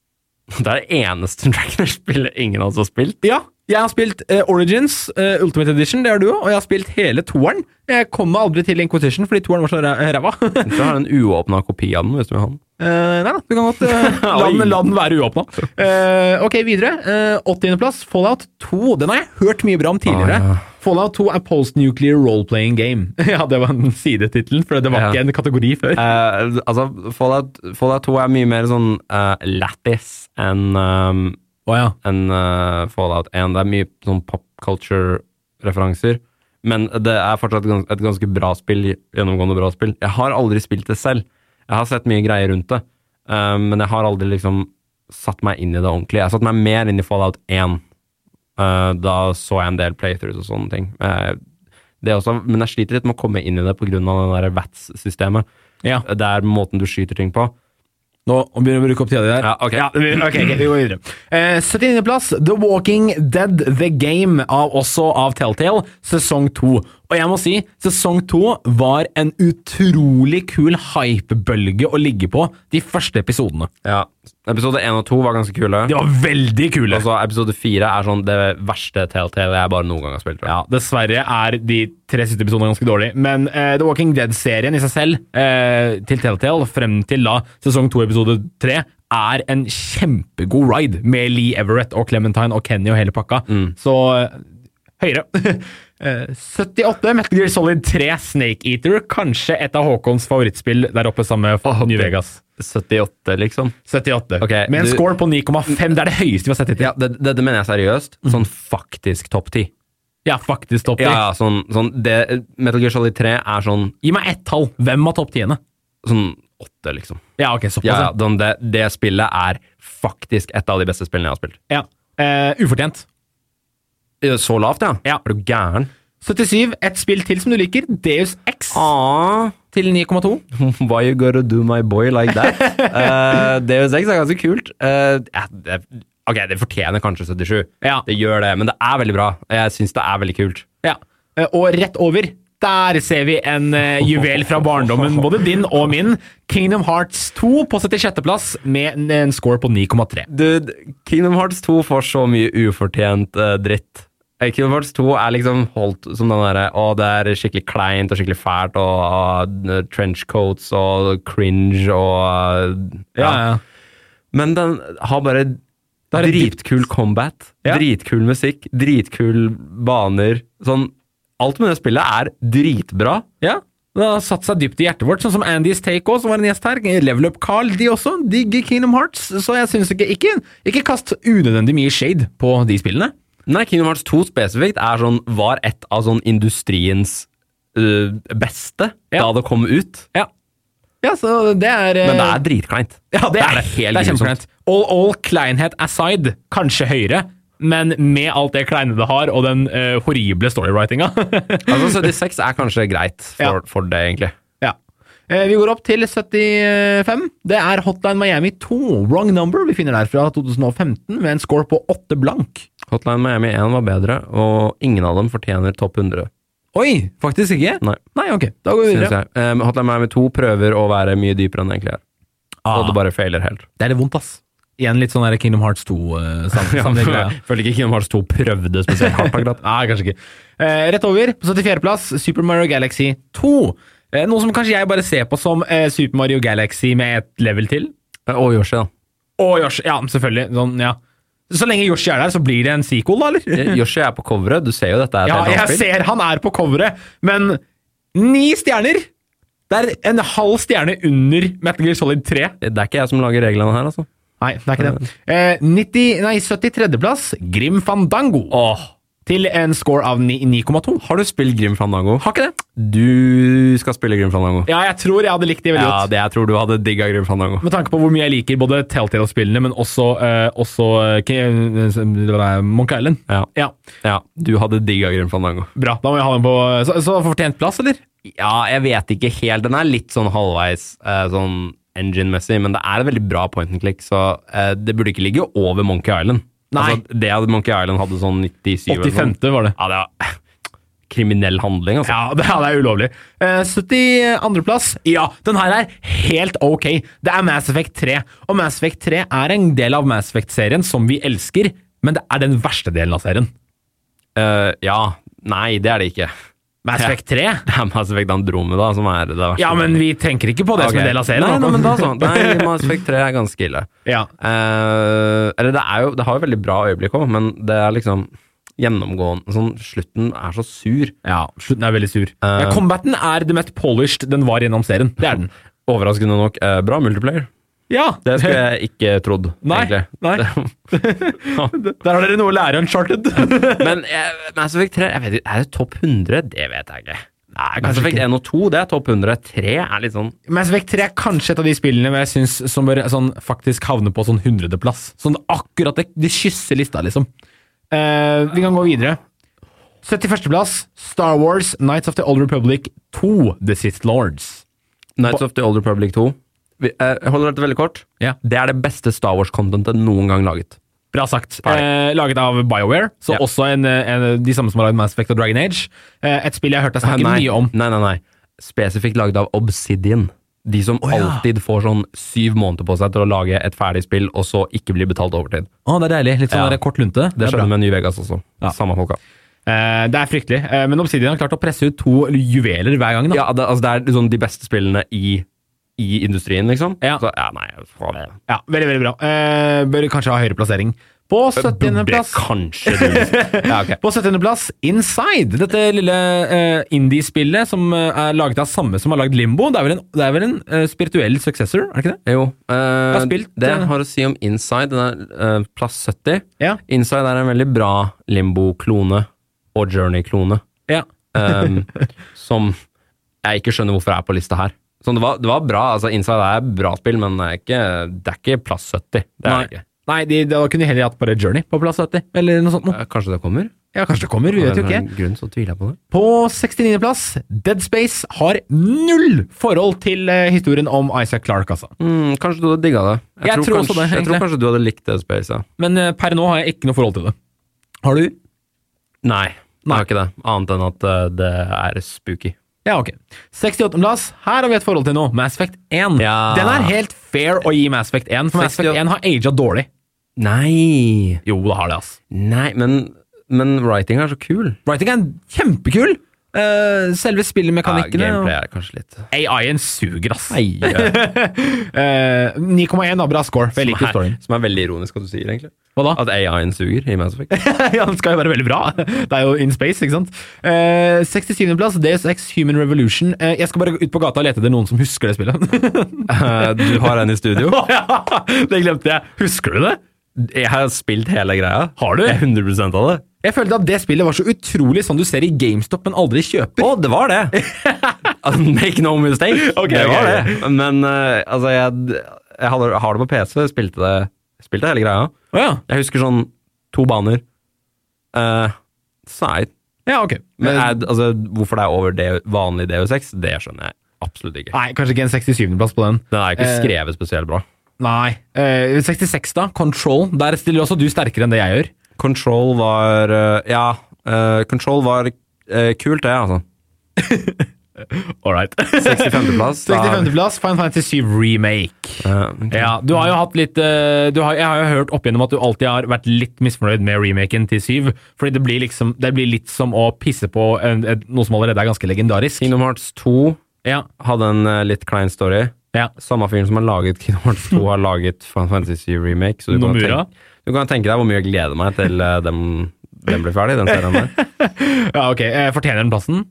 Speaker 3: Det er det eneste Dragoner-spillet ingen av oss har spilt.
Speaker 2: Ja, jeg har spilt eh, Origins, eh, Ultimate Edition, det har du òg, og jeg har spilt hele toeren. Jeg kom meg aldri til Inquisition fordi toeren var så ræ- ræva.
Speaker 3: Jeg tror jeg har en uåpna kopi av den, hvis du vil ha den.
Speaker 2: Eh, nei da, du kan godt eh, la, den, la den være uåpna. Eh, ok, videre. Eh, 80. plass, Fallout 2. Den har jeg hørt mye bra om tidligere.
Speaker 3: Ah, ja.
Speaker 2: Fallout 2 er post-nuclear role-playing game. ja, det var den sidetittelen, for det var
Speaker 3: Ja.
Speaker 2: ikke en kategori før.
Speaker 3: Eh, altså, Fallout, Fallout 2 er mye mer sånn eh, lættis enn ehm,
Speaker 2: Å ja.
Speaker 3: enn, eh, Fallout 1. Det er mye sånn pop culture-referanser. Men det er fortsatt gans et ganske bra spill, gjennomgående bra spill. Jeg har aldri spilt det selv. Jeg har sett mye greier rundt det, eh, men jeg har aldri liksom satt meg inn i det ordentlig. Jeg har satt meg mer inn i Fallout 1. Eh, da så jeg en del playthroughs og sånne ting. Eh, det er også, men jeg sliter litt med å komme inn i det pga. VATS-systemet.
Speaker 2: ja.
Speaker 3: Det er måten du skyter ting på.
Speaker 2: Nå begynner vi å bruke opp tida di der.
Speaker 3: Ja, ok.
Speaker 2: Ja, vi, ok, ok, vi går videre. Eh, 79. plass, The Walking Dead The Game, av, også av Telltale, sesong 2. Og jeg må si, sesong 2 var en utrolig kul hypebølge å ligge på de første episodene.
Speaker 3: Ja. Episode 1 og 2 var ganske kule.
Speaker 2: De var veldig kule.
Speaker 3: Altså, episode 4 er sånn det verste Telltale jeg bare noen gang har spilt. tror jeg.
Speaker 2: Ja, dessverre er de tre siste episodene ganske dårlige, men eh, The Walking Dead-serien i seg selv, eh, til Telltale, frem til da sesong 2 episode 3, er en kjempegod ride med Lee Everett og Clementine og Kenny og hele pakka.
Speaker 3: Mm.
Speaker 2: Så eh, høyere. Eh, 78, Metal Gear Solid 3 Snake Eater, kanskje et av Håkons favorittspill der oppe sammen med New Vegas.
Speaker 3: 78, liksom.
Speaker 2: 78.
Speaker 3: Ok,
Speaker 2: med en
Speaker 3: du-
Speaker 2: score på 9,5, det er det høyeste vi har sett hittil.
Speaker 3: Ja, det- Dette mener jeg seriøst. Sånn faktisk topp 10.
Speaker 2: Ja, faktisk topp 10.
Speaker 3: Ja, ja, sånn, sånn det, Metal Gear Solid 3 er sånn,
Speaker 2: Gi meg ett tall. Hvem av topp 10-ene?
Speaker 3: sånn 8, liksom.
Speaker 2: Ja, ok, såpass.
Speaker 3: Ja, ja, den- det, det spillet er faktisk et av de beste spillene jeg har spilt.
Speaker 2: Ja. Eh, ufortjent.
Speaker 3: Ja, Så lavt, ja?
Speaker 2: Ja.
Speaker 3: Er du gæren?
Speaker 2: 77. Ett spill til som du liker. Deus X
Speaker 3: Ah,
Speaker 2: til 9,2.
Speaker 3: why you gotta do my boy like that? Eh, Deus Ex er ganske kult. Eh, ja, det, ok, det fortjener kanskje 77.
Speaker 2: Ja.
Speaker 3: Det gjør det, men det er veldig bra. Jeg syns det er veldig kult.
Speaker 2: Ja. Eh, Og rett over, der ser vi en eh, juvel fra barndommen, både din og min. Kingdom Hearts 2 på 76.-plass med en, en score på 9,3.
Speaker 3: Dude, Kingdom Hearts 2 får så mye ufortjent eh, dritt. Eh, Kingdom Hearts 2 er liksom holdt som den derre Å, det er skikkelig kleint og skikkelig fælt og ah, trenchcoats og cringe og eh, Men den har bare
Speaker 2: er et
Speaker 3: dritkul combat,
Speaker 2: Ja.
Speaker 3: dritkul musikk, dritkul baner. Sånn Alt med det spillet er dritbra.
Speaker 2: Ja. Det har satt seg dypt i hjertet vårt, sånn som Andy's Take også, som var en gjest her. Level Up Carl, de også. Digger Kingdom Hearts. Så jeg syns ikke, ikke Ikke kast unødvendig mye shade på de spillene.
Speaker 3: Nei, Kingdom Hearts 2 spesifikt er sånn, var et av sånn industriens øh, beste
Speaker 2: Ja.
Speaker 3: da det kom ut.
Speaker 2: Ja. Ja, så det er eh,
Speaker 3: Men det er dritkleint.
Speaker 2: Ja, det er det. det
Speaker 3: helt
Speaker 2: er
Speaker 3: grusomt.
Speaker 2: kjempekleint. All, all kleinhet aside, kanskje høyere, men med alt det kleine det har, og den eh, horrible storywritinga.
Speaker 3: Altså, 76 er kanskje greit for,
Speaker 2: Ja.
Speaker 3: for det, egentlig.
Speaker 2: ja. Eh, Vi går opp til 75. Det er Hotline Miami 2, Wrong Number. Vi finner der fra 2015 med en score på 8 blank.
Speaker 3: Hotline Miami 1 var bedre, og ingen av dem fortjener topp 100.
Speaker 2: Oi, faktisk ikke?
Speaker 3: Nei,
Speaker 2: Nei, ok. Da går vi
Speaker 3: synes
Speaker 2: videre.
Speaker 3: jeg. Eh, men Hotline Miami 2 prøver å være mye dypere enn det egentlig er. Og
Speaker 2: Ah,
Speaker 3: det bare failer helt.
Speaker 2: det er litt vondt, ass. Igjen litt sånn der Kingdom Hearts eh, 2-sammenheng.
Speaker 3: Jeg føler ikke Kingdom Hearts 2 prøvde spesielt hardt. akkurat.
Speaker 2: Nei, kanskje ikke. Eh, rett over, på 74.-plass, Super Mario Galaxy 2. Eh, noe som kanskje jeg bare ser på som eh, Super Mario Galaxy med et level til.
Speaker 3: Eh, Og Yoshi, da.
Speaker 2: Og Yoshi. Ja, selvfølgelig. Sånn, ja. Så lenge Yoshi er der, så blir det en sequel, da, eller?
Speaker 3: Eh, Yoshi er på coveret, du ser jo dette er et
Speaker 2: Ja,
Speaker 3: helt annet
Speaker 2: jeg
Speaker 3: spill.
Speaker 2: ser han er på coveret, men ni stjerner! Det er en halv stjerne under Metal Gear Solid 3.
Speaker 3: Det er ikke jeg som lager reglene her, altså.
Speaker 2: Nei, det er ikke det. Eh, 90, nei, 73.-plass, Grim Fandango. Til en score av ni- 9,2.
Speaker 3: Har du spilt Grim Fandango?
Speaker 2: Har ikke det?
Speaker 3: Du skal spille Grim Fandango.
Speaker 2: Ja, jeg tror jeg hadde likt de veldig godt.
Speaker 3: Ja, det jeg tror du hadde digga Grim Fandango.
Speaker 2: Med tanke på hvor mye jeg liker både Telltale-spillene, men også, eh, også eh, K- eh, Monk Island.
Speaker 3: Ja.
Speaker 2: Ja,
Speaker 3: ja, du hadde digga Grim Fandango.
Speaker 2: bra. Da må jeg ha den på Så, så fortjent plass, eller?
Speaker 3: Ja, jeg vet ikke helt. Den er litt sånn halvveis eh, sånn engine-messig, men det er et veldig bra point and click, så eh, det burde ikke ligge over Monkey Island.
Speaker 2: Nei.
Speaker 3: Altså, det at Monkey Island hadde sånn 97 eller noe sånt.
Speaker 2: 85. var det.
Speaker 3: Ja, det var kriminell handling, altså.
Speaker 2: Ja, det, ja, det er ulovlig. Eh, 72. plass. Ja, den her er helt ok. Det er Mass Effect 3. Og Mass Effect 3 er en del av Mass Effect-serien som vi elsker, men det er den verste delen av serien.
Speaker 3: Eh, ja. Nei, det er det ikke.
Speaker 2: Mass
Speaker 3: Ja.
Speaker 2: Effect 3?
Speaker 3: Det er Mass Effect Andromeda som er det verste.
Speaker 2: Ja, men vi tenker ikke på det som
Speaker 3: Ok.
Speaker 2: en del av serien.
Speaker 3: Nei,
Speaker 2: da.
Speaker 3: nei, men da sånn. Nei, Mass Effect 3 er ganske ille.
Speaker 2: Ja.
Speaker 3: Eh, eller det er jo Det har jo veldig bra øyeblikk òg, men det er liksom gjennomgående sånn, Slutten er så sur.
Speaker 2: Ja, slutten er veldig sur. ja, combaten er det mest polished den var gjennom serien. Det er den.
Speaker 3: Overraskende nok eh, bra multiplayer.
Speaker 2: Ja,
Speaker 3: Det skulle jeg ikke trodd,
Speaker 2: Nei,
Speaker 3: egentlig.
Speaker 2: nei. Der har dere noe å lære Uncharted.
Speaker 3: Men eh, Mass Effect 3 jeg vet, ikke, Er det topp 100? Det vet jeg ikke. Nei, Mass
Speaker 2: kanskje
Speaker 3: Effect
Speaker 2: ikke.
Speaker 3: 1 og 2 det er topp 100. 3 er litt sånn
Speaker 2: Mass Effect 3 er kanskje et av de spillene hvor jeg synes som bør sånn, faktisk havne på sånn hundredeplass. Sånn akkurat det, det kysser lista, liksom. Eh, vi kan gå videre. 71.-plass, Star Wars Nights of the Old Republic 2, The Sith Lords.
Speaker 3: Nights of the Old Republic 2. Vi, eh, jeg holder dette veldig kort.
Speaker 2: Ja.
Speaker 3: Det er det beste Star Wars-contentet noen gang laget.
Speaker 2: Bra sagt.
Speaker 3: Ferdig.
Speaker 2: Eh, laget av BioWare, så
Speaker 3: Ja.
Speaker 2: også en, eh, en, de samme som har lagd Mass Effect og Dragon Age. Eh, et spill jeg har hørt deg snakke
Speaker 3: nei,
Speaker 2: mye om.
Speaker 3: Nei, nei, nei. Spesifikt lagd av Obsidian. De som
Speaker 2: ja.
Speaker 3: alltid får sånn syv måneder på seg til å lage et ferdig spill, og så ikke bli betalt overtid.
Speaker 2: Å, det er deilig. Litt sånn
Speaker 3: Ja.
Speaker 2: der kort lunte.
Speaker 3: Det
Speaker 2: er bra.
Speaker 3: skjedde med New Vegas også.
Speaker 2: Ja.
Speaker 3: Samme folka.
Speaker 2: Eh, det er fryktelig, eh, men Obsidian har klart å presse ut to juveler hver gang. da.
Speaker 3: Ja, det, altså, det er sånn de beste spillene i, i industrien, liksom.
Speaker 2: Ja.
Speaker 3: Så, ja, nei, faen. det
Speaker 2: Ja, Veldig veldig bra. Eh, bør kanskje ha høyere plassering. På 70.
Speaker 3: Burde
Speaker 2: plass
Speaker 3: kanskje du ja, ok.
Speaker 2: på 70. plass, Inside. Dette lille eh, indie-spillet som eh, er laget av samme som har lagd Limbo. Det er vel en, det er vel en eh, spirituell successor, er det ikke det?
Speaker 3: Jo. eh,
Speaker 2: har spilt,
Speaker 3: det
Speaker 2: eh,
Speaker 3: har å si om Inside. Den er eh, plass 70.
Speaker 2: Ja.
Speaker 3: Inside er en veldig bra limbo-klone og journey-klone.
Speaker 2: Ja.
Speaker 3: um, som jeg ikke skjønner hvorfor er på lista her. Sånn, det, var, det var bra, altså Inside er bra spill, men det er ikke, det er ikke plass 70. Det er det ikke.
Speaker 2: Nei, de, da kunne de heller hatt bare Journey på plass 70, eller noe sånt. noe.
Speaker 3: Eh, Kanskje det kommer?
Speaker 2: Ja, kanskje det kommer, vi vet jo
Speaker 3: Av en eller
Speaker 2: ikke.
Speaker 3: annen grunn så tviler jeg på det.
Speaker 2: På 69. plass, Dead Space har null forhold til eh, historien om Isaac Clark, altså.
Speaker 3: Mm, kanskje du hadde digga det.
Speaker 2: Jeg tror også det,
Speaker 3: kanskje, jeg tror sånn
Speaker 2: egentlig.
Speaker 3: kanskje du hadde likt det spacet.
Speaker 2: Men eh, per nå har jeg ikke noe forhold til det. Har du?
Speaker 3: Nei, det
Speaker 2: Nei.
Speaker 3: er ikke det. Annet enn at eh, det er spooky.
Speaker 2: Ja, ok. 68. plass, her har vi et forhold til noe. Mass Effect 1.
Speaker 3: Ja.
Speaker 2: Den er helt fair å gi Mass Effect 1, for Mass
Speaker 3: 68.
Speaker 2: Effect 1 har aga dårlig.
Speaker 3: Nei,
Speaker 2: Jo, det har det, altså.
Speaker 3: nei, men, men writinga er så kul.
Speaker 2: Writing er kjempekul. Eh, selve spillmekanikkene
Speaker 3: Ja,
Speaker 2: og-
Speaker 3: gameplay er kanskje litt
Speaker 2: AI-en suger, ass.
Speaker 3: Nei,
Speaker 2: Eh, 9,1 er bra score, for jeg liker
Speaker 3: som, er,
Speaker 2: storyen.
Speaker 3: som er veldig ironisk hva du sier, egentlig.
Speaker 2: Hva da?
Speaker 3: At AI-en suger i Mass Effect.
Speaker 2: ja, den skal jo være veldig bra. Det er jo in space, ikke sant? Eh, 67. plass, DSX Human Revolution. Eh, jeg skal bare ut på gata og lete etter noen som husker det spillet.
Speaker 3: Eh, du har en i studio.
Speaker 2: Å ja, det glemte jeg. Husker du det?
Speaker 3: Jeg har spilt hele greia.
Speaker 2: Har du?
Speaker 3: Jeg er 100 av det.
Speaker 2: Jeg følte at det spillet var så utrolig sånn du ser i GameStop, men aldri kjøper.
Speaker 3: Å, det var det! Altså, Make no mistake.
Speaker 2: Ok,
Speaker 3: det
Speaker 2: ok,
Speaker 3: var
Speaker 2: ok.
Speaker 3: det. Men eh, altså, jeg, jeg hadde, har det på PC. Spilte det spilte hele greia.
Speaker 2: Å ja.
Speaker 3: Jeg husker sånn to baner. Eh, så nei.
Speaker 2: ja, ok.
Speaker 3: Men jeg, altså, hvorfor det er over det, vanlig DU6, det skjønner jeg absolutt ikke.
Speaker 2: Nei, kanskje ikke en 67. plass på den.
Speaker 3: Den er jo ikke
Speaker 2: Eh,
Speaker 3: skrevet spesielt bra.
Speaker 2: Nei. Eh, 66, da. Control. Der stiller også du sterkere enn det jeg gjør.
Speaker 3: Control var eh, Ja, eh, Control var eh, kult, det, altså.
Speaker 2: All right.
Speaker 3: 65.-plass.
Speaker 2: 65. plass, Final Fantasy 7 Remake.
Speaker 3: Eh,
Speaker 2: Ja, du har jo hatt litt eh, du har, Jeg har jo hørt opp igjennom at du alltid har vært litt misfornøyd med remaken til Syv. Fordi det blir liksom Det blir litt som å pisse på en, et, noe som allerede er ganske legendarisk.
Speaker 3: Kingdom Hearts 2
Speaker 2: Ja,
Speaker 3: hadde en eh, litt klein story.
Speaker 2: ja.
Speaker 3: Samme fyren som har laget Kingdom Hearts 2, har laget Final Fantasy Remake. Så du kan, tenke,
Speaker 2: Nomura?
Speaker 3: du kan tenke deg hvor mye jeg gleder meg til eh, dem, den blir ferdig, den serien der.
Speaker 2: ja ok. eh, fortjener den plassen?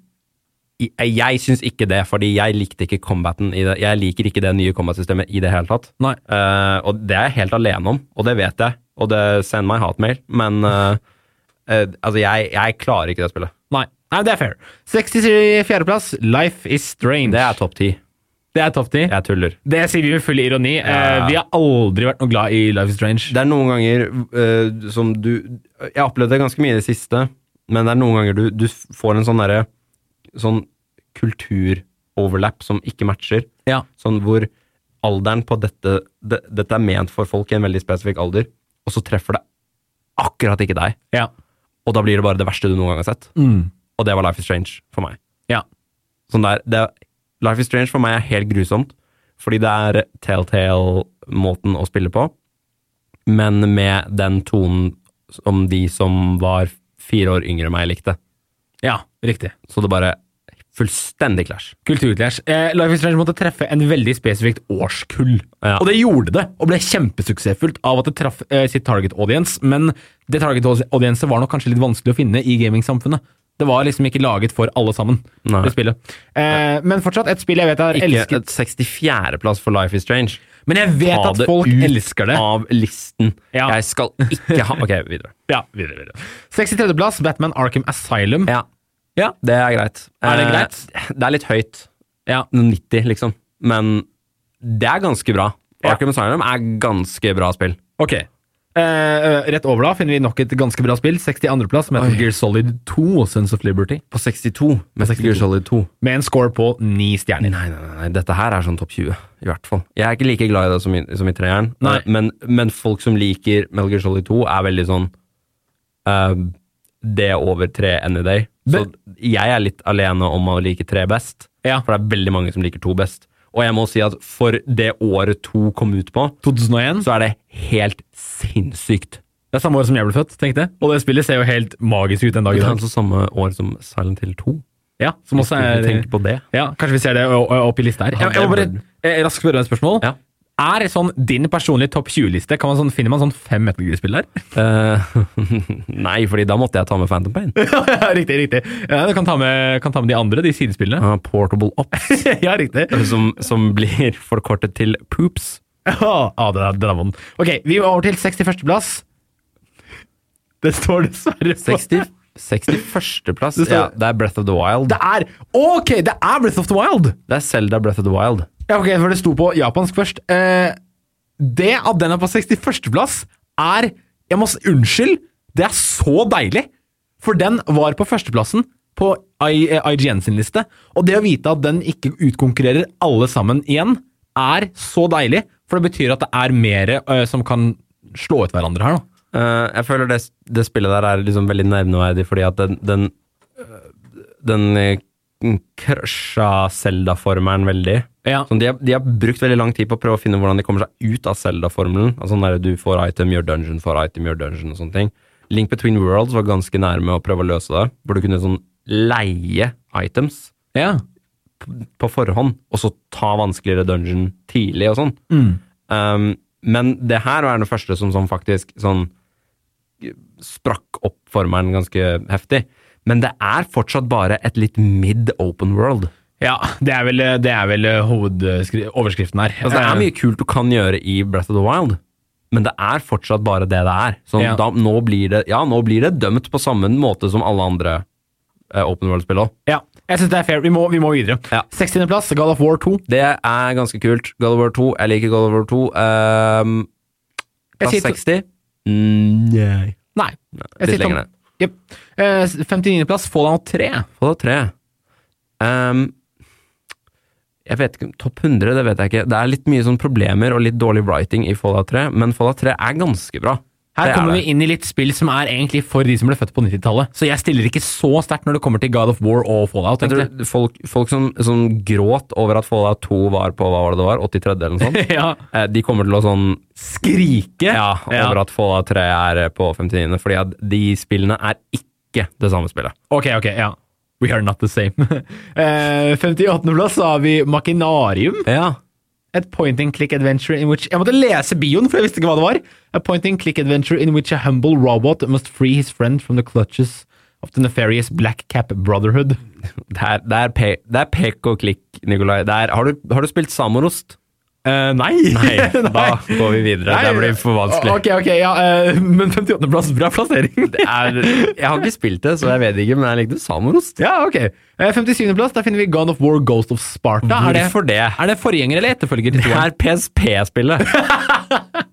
Speaker 3: Jeg, eh, jeg syns ikke det, fordi jeg likte ikke combaten i det. Jeg liker ikke det nye combat-systemet i det hele tatt.
Speaker 2: Nei.
Speaker 3: Eh, og det er jeg helt alene om, og det vet jeg. Og det send meg hatmail, men eh, eh, altså, jeg, jeg klarer ikke det spillet.
Speaker 2: Nei. Nei, men det er fair. 64. plass, Life Is Strange.
Speaker 3: Det er topp ti.
Speaker 2: Det er topp ti.
Speaker 3: Jeg tuller.
Speaker 2: Det sier vi med full ironi. Eh,
Speaker 3: Ja.
Speaker 2: vi har aldri vært noe glad i Life Is Strange.
Speaker 3: Det er noen ganger eh, som du Jeg har opplevd det ganske mye i det siste, men det er noen ganger du, du får en sånn derre Sånn kulturoverlapp som ikke matcher.
Speaker 2: Ja.
Speaker 3: Sånn hvor alderen på dette det, Dette er ment for folk i en veldig spesifikk alder, og så treffer det akkurat ikke deg.
Speaker 2: Ja.
Speaker 3: Og da blir det bare det verste du noen gang har sett. Og det var Life is Strange for meg.
Speaker 2: ja.
Speaker 3: Sånn der, det, Life is Strange for meg er helt grusomt, fordi det er Telltale-måten å spille på, men med den tonen som de som var fire år yngre enn meg, likte.
Speaker 2: Ja, riktig.
Speaker 3: Så det bare fullstendig clash.
Speaker 2: Kulturclash. Eh, Life is Strange måtte treffe en veldig spesifikt årskull.
Speaker 3: Ja.
Speaker 2: Og det gjorde det, og ble kjempesuksessfullt av at det traff eh, sitt target audience. Men det target audience var nok kanskje litt vanskelig å finne i gamingsamfunnet. Det var liksom ikke laget for alle sammen,
Speaker 3: Nei.
Speaker 2: det spillet. Eh, men fortsatt et spill jeg vet er
Speaker 3: Ikke
Speaker 2: elsket.
Speaker 3: et 64. plass for Life is Strange.
Speaker 2: Men jeg vet
Speaker 3: Ta
Speaker 2: at
Speaker 3: det
Speaker 2: folk
Speaker 3: ut
Speaker 2: elsker det.
Speaker 3: av listen.
Speaker 2: Ja.
Speaker 3: Jeg skal ikke ha Ok, videre.
Speaker 2: Ja, videre, videre. 63. plass, Batman Arkham Asylum.
Speaker 3: Ja,
Speaker 2: Ja.
Speaker 3: det er greit.
Speaker 2: Er det
Speaker 3: Eh,
Speaker 2: greit?
Speaker 3: Det er litt høyt.
Speaker 2: Ja.
Speaker 3: 90, liksom. Men det er ganske bra. Arkham Asylum er ganske bra spill.
Speaker 2: Ok. Eh, eh, rett over da finner vi nok et ganske bra spill. 62. plass, Metal
Speaker 3: Oi.
Speaker 2: Gear Solid 2, Sons of Liberty.
Speaker 3: På 62, med
Speaker 2: 62.
Speaker 3: Gear Solid 2.
Speaker 2: Med en score på ni stjerner.
Speaker 3: Nei, nei, nei, nei, dette her er sånn topp 20, i hvert fall. Jeg er ikke like glad i det som i, som i treeren, eh,
Speaker 2: Nei.
Speaker 3: men, men folk som liker Metal Gear Solid 2, er veldig sånn eh, Det er over tre any day. Så jeg er litt alene om å like tre best,
Speaker 2: Ja.
Speaker 3: for det er veldig mange som liker to best. Og jeg må si at for det året to kom ut på,
Speaker 2: 2001.
Speaker 3: så er det helt sinnssykt.
Speaker 2: Det er samme år som jeg ble født, tenkte jeg. Og det spillet ser jo helt magisk ut den dag i
Speaker 3: Det er
Speaker 2: dag.
Speaker 3: altså samme år som Silent Hill 2.
Speaker 2: Ja, som også er...
Speaker 3: Tenk på det.
Speaker 2: Ja, kanskje vi ser det ø- ø- opp i lista her.
Speaker 3: Ja,
Speaker 2: Jeg, jeg må bare
Speaker 3: det
Speaker 2: eh, raskt spørre deg et spørsmål.
Speaker 3: Ja.
Speaker 2: Er sånn din personlige topp 20-liste, kan man sånn, finner man sånn fem Metal Gear-spill der?
Speaker 3: Eh, nei, fordi da måtte jeg ta med Phantom Pain.
Speaker 2: riktig, riktig. Ja, du kan ta, med, kan ta med de andre, de sidespillene.
Speaker 3: Ah, portable Ops,
Speaker 2: ja, riktig.
Speaker 3: som, som blir forkortet til Poops.
Speaker 2: ah, den er, den er vond. Ok, vi må over til 61. plass. Det står dessverre på...
Speaker 3: 60, 61. plass.
Speaker 2: Det står-
Speaker 3: Ja, det er Breath of the Wild.
Speaker 2: Det er... Ok, det er Breath of the Wild!
Speaker 3: Det er Zelda Breath of the Wild.
Speaker 2: Ja, ok, for det sto på japansk først. Eh, det at den er på 61. plass, er jeg må, s- Unnskyld, det er så deilig! For den var på førsteplassen på I, eh, IGN sin liste. Og det å vite at den ikke utkonkurrerer alle sammen igjen, er så deilig. For det betyr at det er mer eh, som kan slå ut hverandre her, da.
Speaker 3: Eh, jeg føler det, det spillet der er liksom veldig nevneverdig, fordi at den, den, øh, den eh, krasja Zelda-formelen veldig.
Speaker 2: Ja.
Speaker 3: Sånn, de, har, de har brukt veldig lang tid på å prøve å finne hvordan de kommer seg ut av Zelda-formelen. Altså sånn der, du får item, gjør dungeon, får item, gjør dungeon og sånne ting. Link Between Worlds var ganske nærme å prøve å løse det, hvor du kunne sånn leie items
Speaker 2: Ja.
Speaker 3: på forhånd, og så ta vanskeligere dungeon tidlig og sånn. Um, men det her er det første som, som faktisk sånn sprakk opp formelen ganske heftig. Men det er fortsatt bare et litt mid open world.
Speaker 2: Ja, det er vel, det er vel hovedoverskriften her.
Speaker 3: Altså, det er mye kult du kan gjøre i Breath of the Wild, men det er fortsatt bare det det er. Sånn,
Speaker 2: Ja.
Speaker 3: da, nå blir det, ja, nå blir det dømt på samme måte som alle andre eh, open world-spill òg.
Speaker 2: Ja, jeg syns det er fair. Vi må, vi må videre.
Speaker 3: Ja.
Speaker 2: 60.-plass, God of War 2.
Speaker 3: Det er ganske kult. God of War 2. Jeg liker God of War 2. Um, plass
Speaker 2: Jeg sier to-
Speaker 3: 60. Mm, nei.
Speaker 2: Nei. jeg
Speaker 3: litt
Speaker 2: sier Tom-
Speaker 3: lenger ned.
Speaker 2: Jep. Eh, 59.-plass, Fallout 3.
Speaker 3: Få da tre. Um, jeg vet ikke, Topp 100, det vet jeg ikke. Det er litt mye sånn problemer og litt dårlig writing i Fallout 3, men Fallout 3 er ganske bra.
Speaker 2: Her
Speaker 3: Det er
Speaker 2: kommer
Speaker 3: det.
Speaker 2: vi inn i litt spill som er egentlig for de som ble født på 90-tallet. Så jeg stiller ikke så sterkt når det kommer til God of War og Fallout.
Speaker 3: Jeg
Speaker 2: egentlig.
Speaker 3: tror folk, folk som, som gråt over at Fallout 2 var på hva var det det var, 83. eller noe sånt,
Speaker 2: ja.
Speaker 3: eh, de kommer til å sånn
Speaker 2: Skrike!
Speaker 3: ja, over at Fallout 3 er eh, på 59., fordi at de spillene er ikke det samme spillet.
Speaker 2: Ok, ok, ja. We are not the same. eh, 58.-plass har vi Makinarium.
Speaker 3: Ja,
Speaker 2: Et point and click adventure in which Jeg måtte lese bioen, for jeg visste ikke hva det var. A point and click adventure in which a humble robot must free his friend from the clutches of the nefarious black cap brotherhood.
Speaker 3: Det er, det er, pe det er pek og klikk, Nikolai. Det er, har, du, har du spilt Samorost?
Speaker 2: Eh, nei.
Speaker 3: Nei, da går vi videre. Det blir for vanskelig.
Speaker 2: Ok, ok, ja, eh, Men 58.-plass, bra plassering.
Speaker 3: Det er, jeg har ikke spilt det, så jeg vet ikke, men jeg likte Samorost.
Speaker 2: Ja, ok. Eh, 57.-plass, der finner vi God of War, Ghost of Sparta. Er det,
Speaker 3: Hvorfor det?
Speaker 2: er det forgjenger eller etterfølger til
Speaker 3: Det
Speaker 2: toeren?
Speaker 3: er PSP-spillet.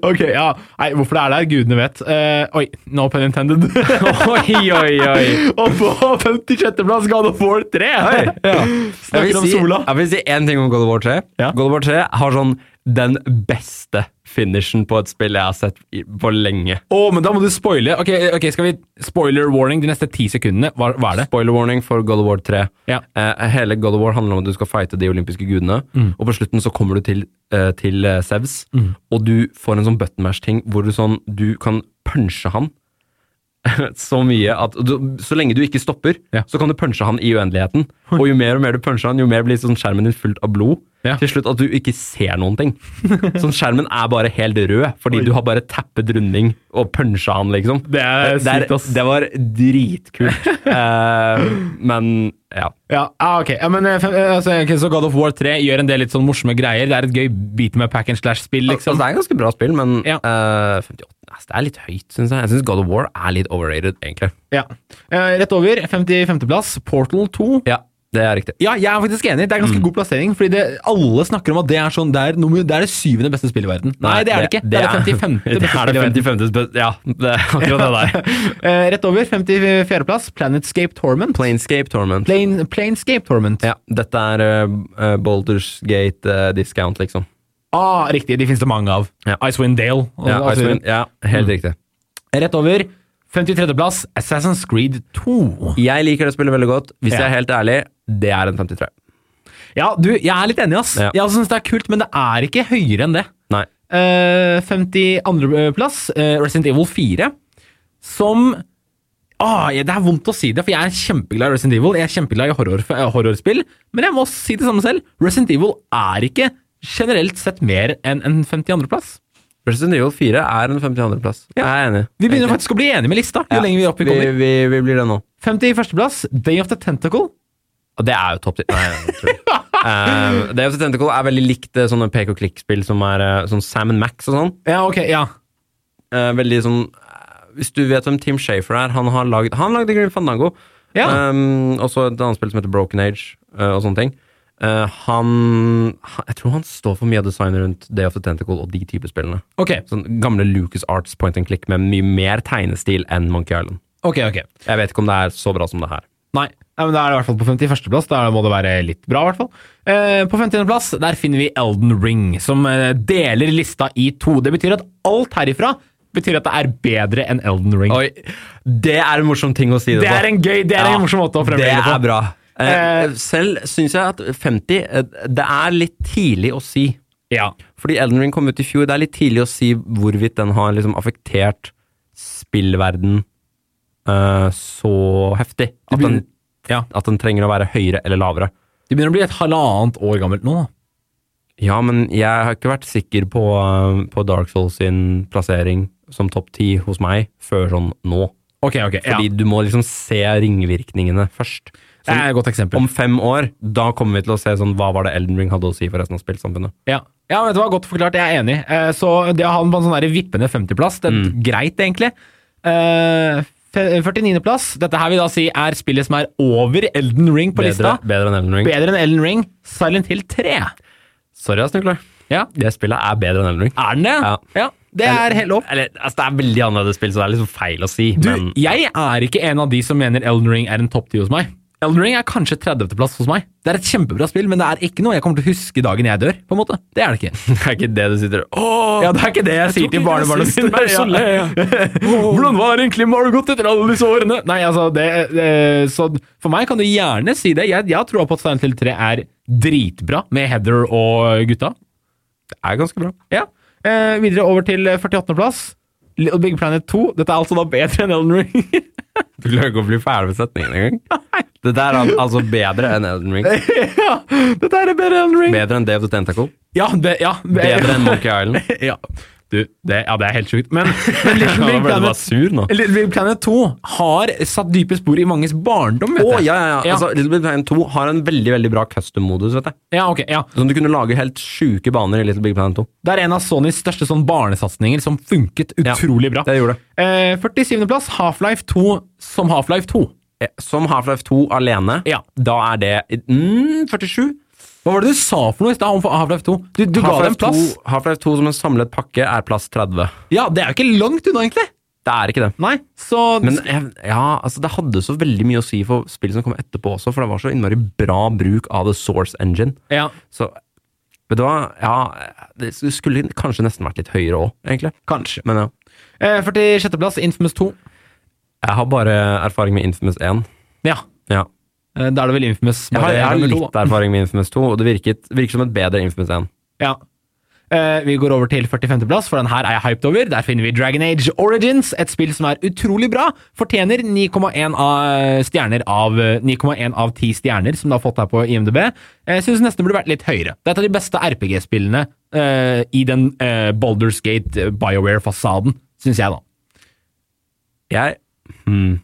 Speaker 2: Ok, ja. Nei, hvorfor det er der, gudene vet. Eh, oi, no pun intended.
Speaker 3: oi, oi, oi.
Speaker 2: Og på 56.-plass God of War 3!
Speaker 3: Oi, ja. Jeg vil,
Speaker 2: Snakker om
Speaker 3: si,
Speaker 2: sola.
Speaker 3: jeg vil si én ting om God of War 3.
Speaker 2: Ja.
Speaker 3: God of War 3 har sånn den beste finishen på et spill jeg har sett i- på lenge.
Speaker 2: Å, men da må du spoile. Ok, ok, skal vi spoiler warning de neste ti sekundene? Hva, hva er det?
Speaker 3: Spoiler warning for God of War 3.
Speaker 2: Ja.
Speaker 3: Eh, hele God of War handler om at du skal fighte de olympiske gudene,
Speaker 2: Mm.
Speaker 3: og på slutten så kommer du til, eh, til eh, Sevs, og du får en sånn button mash-ting hvor du, sånn, du kan punche han så mye at du, Så lenge du ikke stopper,
Speaker 2: Ja.
Speaker 3: så kan du punche han i uendeligheten. Og jo mer og mer du puncher han, jo mer blir sånn skjermen din fullt av blod.
Speaker 2: Ja.
Speaker 3: Til slutt at du ikke ser noen ting. Sånn Skjermen er bare helt rød, fordi du har bare tappet runding og puncha han, liksom.
Speaker 2: Det er
Speaker 3: Der-
Speaker 2: sykt, ass.
Speaker 3: Det var dritkult. Eh, men ja.
Speaker 2: Ja, ah, ok. Ja, men, eh, fem- eh, altså, ok, så God of War 3 gjør en del litt sånn morsomme greier. Det er et gøy beat med pack and slash-spill,
Speaker 3: Altså,
Speaker 2: liksom.
Speaker 3: det er ganske bra spill, men
Speaker 2: Ja.
Speaker 3: eh, 58 ass, Det er litt høyt, syns jeg. Jeg syns God of War er litt overrated, egentlig.
Speaker 2: Ja. Eh, rett over, 55.-plass, Portal 2.
Speaker 3: Ja, det er riktig.
Speaker 2: Ja, jeg er faktisk enig. Det er
Speaker 3: Mm.
Speaker 2: ganske god plassering. Fordi det, alle snakker om at det er sånn Det er, nummer, det, er det syvende beste spillet i verden. Nei, det er det ikke. Det, er det 55.
Speaker 3: Det er det 55. beste- Ja, det er akkurat det der.
Speaker 2: Eh, rett over, 54.-plass, Planetscape Torment.
Speaker 3: Planescape Torment.
Speaker 2: Plane, Planescape Torment.
Speaker 3: Ja, dette er uh, Boulders Gate eh, discount, liksom.
Speaker 2: Ah, riktig, de finnes det mange av.
Speaker 3: Ja.
Speaker 2: Icewind Dale. og-
Speaker 3: Ja, Mm.
Speaker 2: og så videre.
Speaker 3: Icewind, ja helt riktig.
Speaker 2: Rett over, 53.-plass, Assassin's Creed 2.
Speaker 3: Jeg liker det spillet veldig godt. Hvis
Speaker 2: Ja.
Speaker 3: jeg er helt ærlig, det er en 53.
Speaker 2: Ja, du, jeg er litt enig, ass.
Speaker 3: Ja.
Speaker 2: Jeg syns det er kult, men det er ikke høyere enn det.
Speaker 3: Nei.
Speaker 2: Eh, 52.-plass, eh, Resident Evil 4, som Ah, jeg- det er vondt å si det, for jeg er kjempeglad i Resident Evil. Jeg er kjempeglad i horror, eh, horrorspill, men jeg må si det samme selv. Resident Evil er ikke generelt sett mer enn en 52.-plass.
Speaker 3: Resident Evil 4 er en 52.-plass. Jeg er enig.
Speaker 2: Vi begynner
Speaker 3: Egentlig.
Speaker 2: faktisk å bli enige med lista, jo
Speaker 3: Ja.
Speaker 2: lenger vi opp vi
Speaker 3: vi,
Speaker 2: kommer.
Speaker 3: vi, vi blir det nå.
Speaker 2: 51.-plass, Day of the Tentacle.
Speaker 3: Og det er jo topp ti. Nei, jeg tror ikke. Eh, Day of the Tentacle er veldig likt eh, sånne pek og klikk-spill som er eh, sånn Sam Max og sånn.
Speaker 2: Ja, ok, ja.
Speaker 3: Eh, veldig sånn eh, Hvis du vet hvem Tim Shafer er, han har lagd Han lagde Grim Fandango.
Speaker 2: Ja.
Speaker 3: Um, og så et annet spill som heter Broken Age, eh, og sånne ting. Eh, han, han Jeg tror han står for mye av designet rundt Day of the Tentacle og de type spillene.
Speaker 2: Ok,
Speaker 3: Sånn gamle Lucas Arts point and click med mye mer tegnestil enn Monkey Island.
Speaker 2: ok, ok.
Speaker 3: Jeg vet ikke om det er så bra som det her.
Speaker 2: Nei. Nei, men Da er det i hvert fall på 51. plass. Da må det være litt bra, i hvert fall. Eh, på 50. plass der finner vi Elden Ring, som eh, deler lista i to. Det betyr at alt herifra betyr at det er bedre enn Elden Ring.
Speaker 3: Oi, det er en morsom ting å si det,
Speaker 2: Det er en gøy, det er en morsom måte å fremlegge det
Speaker 3: det
Speaker 2: på.
Speaker 3: er bra. Eh,
Speaker 2: Eh,
Speaker 3: selv syns jeg at 50 eh, Det er litt tidlig å si.
Speaker 2: Ja.
Speaker 3: Fordi Elden Ring kom ut i fjor. Det er litt tidlig å si hvorvidt den har liksom affektert spillverden eh, så heftig. At den,
Speaker 2: begynner- ja.
Speaker 3: at den trenger å være høyere eller lavere.
Speaker 2: Det begynner å bli et halvannet år gammelt nå, da.
Speaker 3: Ja, men jeg har ikke vært sikker på, eh, på Dark Souls sin plassering som topp ti hos meg før sånn nå.
Speaker 2: Ok, ok. Ja.
Speaker 3: Fordi du må liksom se ringvirkningene først.
Speaker 2: Det er et godt eksempel.
Speaker 3: Om fem år, da kommer vi til å se sånn, hva var det Elden Ring hadde å si for resten av spillsamfunnet.
Speaker 2: Ja. ja, vet du hva, godt forklart, jeg er enig. Eh, så det å ha den på en sånn der vippende 50-plass, det er
Speaker 3: Mm.
Speaker 2: greit, egentlig. Eh, fe- 49.-plass, dette her vil da si er spillet som er over Elden Ring på
Speaker 3: Bedre,
Speaker 2: lista.
Speaker 3: bedre enn Elden Ring.
Speaker 2: Bedre enn Ellen Ring, Silent Hill 3.
Speaker 3: Sorry, ass, Nicolai.
Speaker 2: Ja.
Speaker 3: Det spillet er bedre enn Elden Ring.
Speaker 2: Er den det?
Speaker 3: Ja.
Speaker 2: Det er helt lov.
Speaker 3: Eller, altså, det er veldig annerledes spill, så det er liksom feil å si.
Speaker 2: Du,
Speaker 3: men
Speaker 2: jeg er ikke en av de som mener Elden Ring er en topp 10 hos meg. Elden Ring er kanskje 30.-plass hos meg. Det er et kjempebra spill, men det er ikke noe jeg kommer til å huske dagen jeg dør. på en måte. Det er det ikke.
Speaker 3: det er ikke det du sitter Åh!
Speaker 2: Ja, Det er ikke det jeg, sier til barnebarna mine. Ja. Hvordan var egentlig Margot etter alle disse årene? Nei, altså, det, eh, så For meg kan du gjerne si det. Jeg, jeg har troa på at Silent Hill 3 er dritbra med Heather og gutta.
Speaker 3: Det er ganske bra.
Speaker 2: Ja. Eh, videre over til 48. plass. Little Big Planet 2. Dette er altså da bedre enn Elden Ring.
Speaker 3: Du klarer ikke å bli ferdig med setningen engang. Det der er altså bedre enn Elden Ring.
Speaker 2: ja, dette er bedre enn Elden Ring.
Speaker 3: Bedre enn Dave the Tentacle.
Speaker 2: ja, be, ja, be,
Speaker 3: Bedre enn Monkey Island.
Speaker 2: ja. Du, det, ja, det er helt sjukt. Men, men Little,
Speaker 3: Nå
Speaker 2: Big
Speaker 3: ble du bare
Speaker 2: Planet,
Speaker 3: sur nå.
Speaker 2: Little Big Planet 2 har satt dype spor i manges barndom, vet
Speaker 3: Å,
Speaker 2: jeg.
Speaker 3: ja, ja, ja. Altså, Little Big Planet 2 har en veldig veldig bra custom-modus. vet jeg.
Speaker 2: ja, ok, ja.
Speaker 3: Sånn Du kunne lage helt sjuke baner i Little Big Planet 2.
Speaker 2: Det er en av Sonys største sånn barnesatsninger som funket utrolig bra.
Speaker 3: det gjorde det.
Speaker 2: Eh, 47. plass, Half-Life 2 som Half-Life 2.
Speaker 3: Eh, Som Half-Life 2 alene,
Speaker 2: Ja.
Speaker 3: da er det mm, 47.
Speaker 2: Hva var det du sa for noe i stad om Half-Life 2? Du, du ga det
Speaker 3: Half-Life
Speaker 2: en plass.
Speaker 3: 2, Half-Life 2 som en samlet pakke er plass 30.
Speaker 2: Ja, det er jo ikke langt unna, egentlig.
Speaker 3: Det er ikke det.
Speaker 2: Nei, så
Speaker 3: Men jeg, ja, altså det hadde så veldig mye å si for spillet som kom etterpå også, for det var så innmari bra bruk av the source engine.
Speaker 2: ja.
Speaker 3: Så vet du hva, ja, det skulle kanskje nesten vært litt høyere òg, egentlig.
Speaker 2: Kanskje.
Speaker 3: Men ja.
Speaker 2: Eh, 46. plass, Infamous 2.
Speaker 3: Jeg har bare erfaring med Infamous 1.
Speaker 2: Ja,
Speaker 3: Ja.
Speaker 2: eh, da er det vel Infamous
Speaker 3: Jeg har, jeg har
Speaker 2: nummer to,
Speaker 3: litt
Speaker 2: da.
Speaker 3: erfaring med Infamous 2, og det virket, virker som et bedre Infamous 1.
Speaker 2: Ja. Eh, vi går over til 45. plass, for den her er jeg hyped over. Der finner vi Dragon Age Origins, et spill som er utrolig bra. Fortjener 9,1 av eh, stjerner av 9,1 av 10 stjerner, som det har fått her på IMDb. Jeg synes nesten det burde vært litt høyere. Det er et av de beste RPG-spillene eh, i den uh, Baldur's Gate eh, Bioware-fasaden, synes jeg, da.
Speaker 3: Jeg hmm,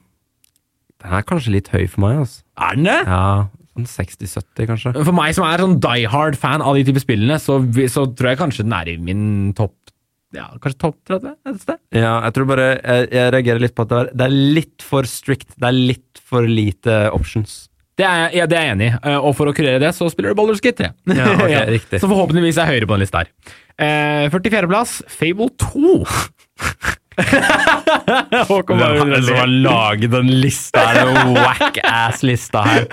Speaker 3: Den er kanskje litt høy for meg, altså.
Speaker 2: Er den det?
Speaker 3: Ja, sånn 60-70, kanskje.
Speaker 2: For meg som er sånn die hard fan av de type spillene, så, vi- så tror jeg kanskje den er i min topp Ja, kanskje topp 30 et sted?
Speaker 3: Ja, jeg tror bare jeg, jeg reagerer litt på at det er, det er litt for strict. Det er litt for lite options.
Speaker 2: Det er, ja, det er jeg enig i, Eh, og for å kurere det, så spiller du Baldur's Gate 3.
Speaker 3: Ja, ok, riktig.
Speaker 2: Så forhåpentligvis er jeg høyere på den lista her. Eh, 44. plass, Fable 2. Håkon bare vil le.
Speaker 3: laget den lista her? Den whack-ass-lista her.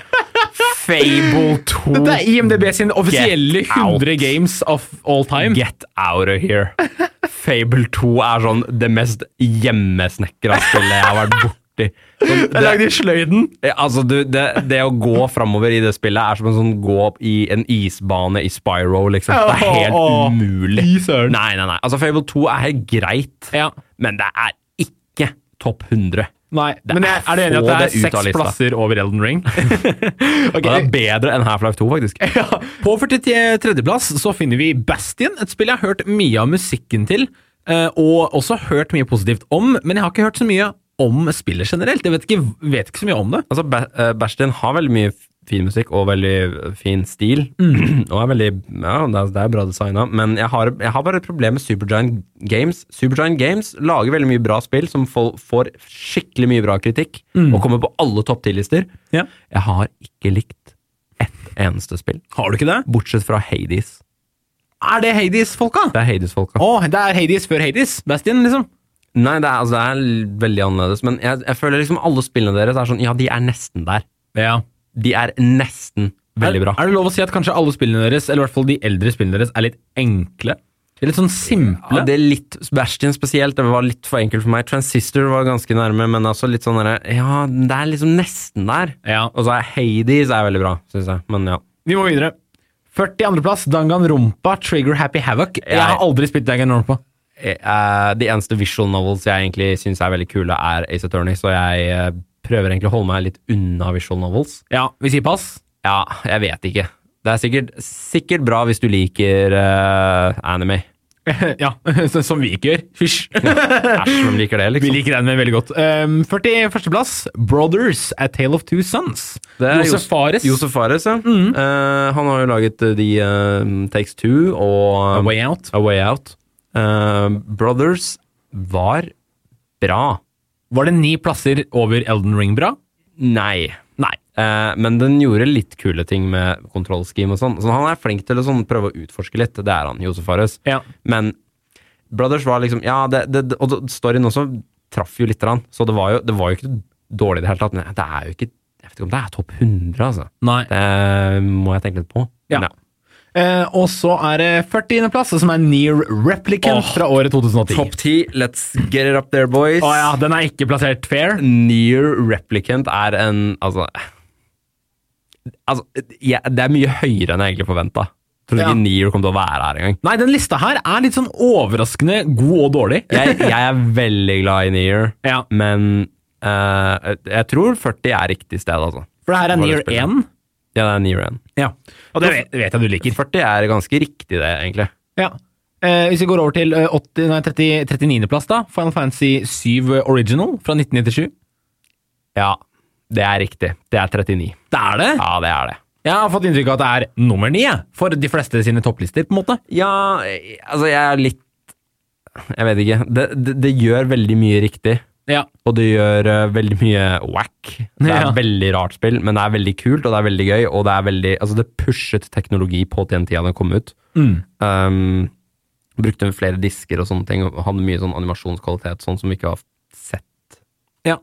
Speaker 3: Fable 2.
Speaker 2: Dette er IMDb sin offisielle
Speaker 3: Get out.
Speaker 2: 100 games of all time.
Speaker 3: Get out of here. Fable 2 er sånn det mest hjemmesnekra spillet jeg har vært borti. Sånn,
Speaker 2: Det er lagd i sløyden.
Speaker 3: Ja, Altså, du, det, det å gå framover i det spillet er som en sånn gå opp i en isbane i Spyro, liksom. Det er helt
Speaker 2: Åh, åh.
Speaker 3: umulig.
Speaker 2: Fy søren.
Speaker 3: Nei, nei, nei. Altså, Fable 2 er helt greit,
Speaker 2: Ja.
Speaker 3: men det er ikke topp 100.
Speaker 2: Nei,
Speaker 3: Det
Speaker 2: men jeg,
Speaker 3: er-
Speaker 2: er du enig i
Speaker 3: få
Speaker 2: at det
Speaker 3: det
Speaker 2: er
Speaker 3: ut av
Speaker 2: seks
Speaker 3: lista.
Speaker 2: plasser over Elden Ring?
Speaker 3: Og Det
Speaker 2: okay.
Speaker 3: er bedre enn Half-Life 2, faktisk.
Speaker 2: Ja. På 43. plass så finner vi Bastion, et spill jeg har hørt mye av musikken til, eh, og også hørt mye positivt om, men jeg har ikke hørt så mye om spillet generelt. Jeg vet ikke, vet ikke så mye om det.
Speaker 3: Altså, Ba- eh, Bastion har veldig mye fin musikk og veldig fin stil.
Speaker 2: Mm.
Speaker 3: og er veldig, ja, det er, det er bra designa, men jeg har, jeg har bare et problem med Supergiant Games. Supergiant Games lager veldig mye bra spill som får, får skikkelig mye bra kritikk, og kommer på alle topp 10-lister.
Speaker 2: Mm. Ja.
Speaker 3: Jeg har ikke likt ett eneste spill.
Speaker 2: Har du ikke det?
Speaker 3: Bortsett fra Hades.
Speaker 2: Er det Hades-folka?
Speaker 3: Det er Hades-folka.
Speaker 2: Å, det er Hades før Hades. Bastion, liksom.
Speaker 3: Nei, det er, altså, det er l- veldig annerledes, men jeg, jeg føler liksom alle spillene deres er sånn Ja, de er nesten der.
Speaker 2: Ja.
Speaker 3: De er nesten veldig bra.
Speaker 2: Er, er det lov å si at kanskje alle spillene deres, eller i hvert fall de eldre spillene deres, er litt enkle? De er Litt sånn simple?
Speaker 3: Ja, det er litt, Bastion spesielt, det var litt for enkelt for meg. Transistor var ganske nærme, men altså litt sånn derre Ja, det er liksom nesten der.
Speaker 2: Ja.
Speaker 3: Og så er Hades er veldig bra, syns jeg. Men ja.
Speaker 2: Vi må videre. 42. plass, Dangan Rumpa, Trigger Happy Havoc. Jeg har aldri spilt Dangan Rumpa.
Speaker 3: Eh, eh, de eneste visual novels jeg egentlig syns er veldig kule, er Ace Attorney, så jeg eh, prøver egentlig å holde meg litt unna visual novels.
Speaker 2: Ja, vi sier pass.
Speaker 3: Ja, jeg vet ikke. Det er sikkert, sikkert bra hvis du liker eh, anime.
Speaker 2: ja, så- som vi ikke gjør. Fysj.
Speaker 3: Æsj, hvem liker det,
Speaker 2: Vi
Speaker 3: liksom?
Speaker 2: liker den med veldig godt. Um, 41. plass, Brothers, A Tale of Two Sons.
Speaker 3: Det er
Speaker 2: Josef
Speaker 3: Jos-
Speaker 2: Fares. Mm.
Speaker 3: Josef Fares, ja. Eh, han har jo laget eh, de eh, Takes Two og eh,
Speaker 2: A Way Out.
Speaker 3: A Way Out. Eh, Brothers var bra.
Speaker 2: Var det ni plasser over Elden Ring bra?
Speaker 3: Nei.
Speaker 2: Nei.
Speaker 3: Eh, men den gjorde litt kule ting med kontrollscheme og sånn. Så han er flink til å sånn prøve å utforske litt. Det er han, Josef Fares.
Speaker 2: Ja.
Speaker 3: Men Brothers var liksom Ja, det, det, det- og storyen også traff jo litt, grann. så det var jo, det var jo ikke dårlig i det hele tatt. Men det er jo ikke Jeg vet ikke om det er topp 100, altså.
Speaker 2: Nei.
Speaker 3: Det må jeg tenke litt på.
Speaker 2: Ja.
Speaker 3: Men
Speaker 2: Eh, og så er det 40. plass, som er Near Replicant
Speaker 3: Åh.
Speaker 2: fra året 2010.
Speaker 3: Topp 10, let's get it up there, boys.
Speaker 2: Å ja, den er ikke plassert fair.
Speaker 3: Near Replicant er en Altså, altså ja, Det er mye høyere enn jeg egentlig forventa. Tror
Speaker 2: Ja.
Speaker 3: ikke Near kom til å være her engang.
Speaker 2: Nei, den lista her er litt sånn overraskende god og dårlig.
Speaker 3: Jeg, jeg er veldig glad i Near,
Speaker 2: Ja.
Speaker 3: men eh, jeg tror 40 er riktig sted, altså.
Speaker 2: For det her er
Speaker 3: Bare
Speaker 2: Near
Speaker 3: spille.
Speaker 2: 1.
Speaker 3: Ja, det er Near 1.
Speaker 2: Ja. Og det vet, det vet jeg du liker.
Speaker 3: 40 er ganske riktig, det, egentlig.
Speaker 2: Ja. Eh, hvis vi går over til eh, 80, nei, 30, 39. plass, da. Final Fantasy 7 Original fra 1997.
Speaker 3: Ja, det er riktig. Det er 39.
Speaker 2: Det er det!
Speaker 3: Ja, det er det.
Speaker 2: Jeg har fått inntrykk av at det er nummer 9 for de fleste sine topplister, på en måte.
Speaker 3: Ja, eh, altså, jeg er litt Jeg vet ikke. Det, det, det gjør veldig mye riktig,
Speaker 2: Ja.
Speaker 3: og det gjør eh, veldig mye whack. Det er
Speaker 2: Ja.
Speaker 3: et veldig rart spill, men det er veldig kult, og det er veldig gøy, og det er veldig Altså, det pushet teknologi på den tida den kom ut.
Speaker 2: Mm.
Speaker 3: Um, brukte flere disker og sånne ting, og hadde mye sånn animasjonskvalitet, sånn som vi ikke har sett
Speaker 2: Ja.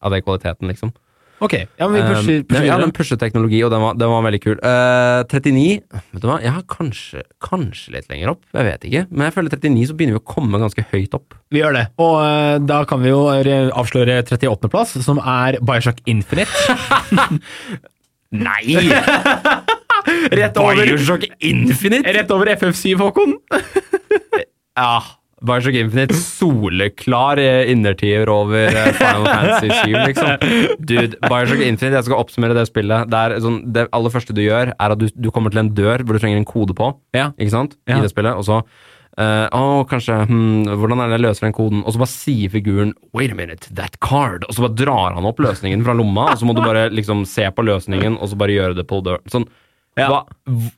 Speaker 3: av den kvaliteten, liksom.
Speaker 2: Ok. Eh, Ja, men vi pusher,
Speaker 3: Um,
Speaker 2: pusher
Speaker 3: ja,
Speaker 2: videre.
Speaker 3: den pusheteknologi, og den var, den var veldig kul. Eh, 39 Vet du hva, jeg har kanskje, kanskje litt lenger opp, jeg vet ikke. Men jeg føler 39 så begynner vi å komme ganske høyt opp.
Speaker 2: Vi gjør det. Og eh, da kan vi jo eh, avsløre 38. plass, som er Bioshock Infinite.
Speaker 3: Nei!
Speaker 2: Rett
Speaker 3: Bioshock Infinite!
Speaker 2: Rett over FF7, Håkon.
Speaker 3: Ja, Bioshock Infinite. Soleklar eh, innertier over eh, Final Fantasy 7, liksom. Dude, Bioshock Infinite, jeg skal oppsummere det spillet. Det, er sånn, det aller første du gjør, er at du, du kommer til en dør hvor du trenger en kode på.
Speaker 2: Ja.
Speaker 3: ikke sant?
Speaker 2: Ja.
Speaker 3: I det spillet. Og så eh, Å, kanskje hmm, Hvordan er det jeg løser den koden? Og så bare sier figuren 'wait a minute, that card', og så bare drar han opp løsningen fra lomma, og så må du bare liksom se på løsningen, og så bare gjøre det på døren. Sånn. Hva, v-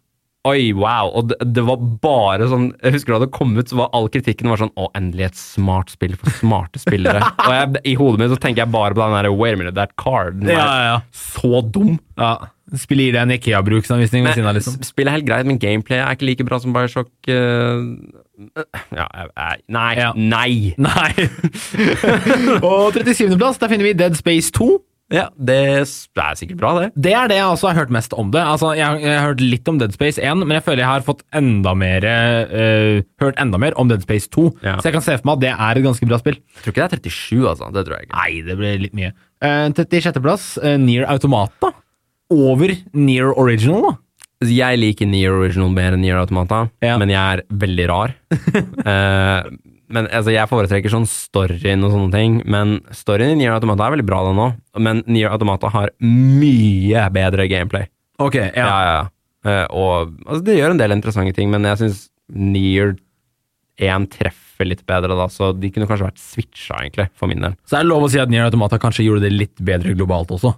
Speaker 3: Oi, wow. Og det, det var bare sånn Jeg husker da det kom ut, så var all kritikken var sånn Å, endelig et smart spill for smarte spillere. og jeg, i hodet mitt så tenker jeg bare på den der 'wait a minute, that card'. Den er
Speaker 2: ja.
Speaker 3: Så dum.
Speaker 2: ja. Spiller i deg en Ikea-bruksanvisning ved siden av,
Speaker 3: Nei,
Speaker 2: liksom.
Speaker 3: s- Spillet er helt greit, men gameplay er ikke like bra som Bioshock eh, ja, jeg- jeg- Nei.
Speaker 2: Ja.
Speaker 3: Nei!
Speaker 2: Nei. og 37. plass, der finner vi Dead Space 2.
Speaker 3: Ja, det, s- det er sikkert bra, det.
Speaker 2: Det er det jeg også har hørt mest om det. Altså, jeg, jeg har hørt litt om Dead Space 1, men jeg føler jeg har fått enda mer, eh, hørt enda mer om Dead Space 2.
Speaker 3: Ja.
Speaker 2: Så jeg kan se for meg at det er et ganske bra spill.
Speaker 3: Jeg tror ikke det er 37, altså. Det tror jeg ikke.
Speaker 2: Nei, det ble litt mye. Eh, 36. plass, eh, Near Automata. Over Near Original, da.
Speaker 3: Jeg liker Near Original mer enn Near Automata,
Speaker 2: Ja.
Speaker 3: men jeg er veldig rar. Eh, men altså, Jeg foretrekker sånn storyen og sånne ting, men storyen i Near Automata er veldig bra, den òg. Men Near Automata har mye bedre gameplay.
Speaker 2: Ok,
Speaker 3: Ja, ja, ja. Eh, og altså, det gjør en del interessante ting, men jeg syns Near 1 treffer litt bedre, da, så de kunne kanskje vært switcha, egentlig, for min del.
Speaker 2: Så er det lov å si at Near Automata kanskje gjorde det litt bedre globalt også.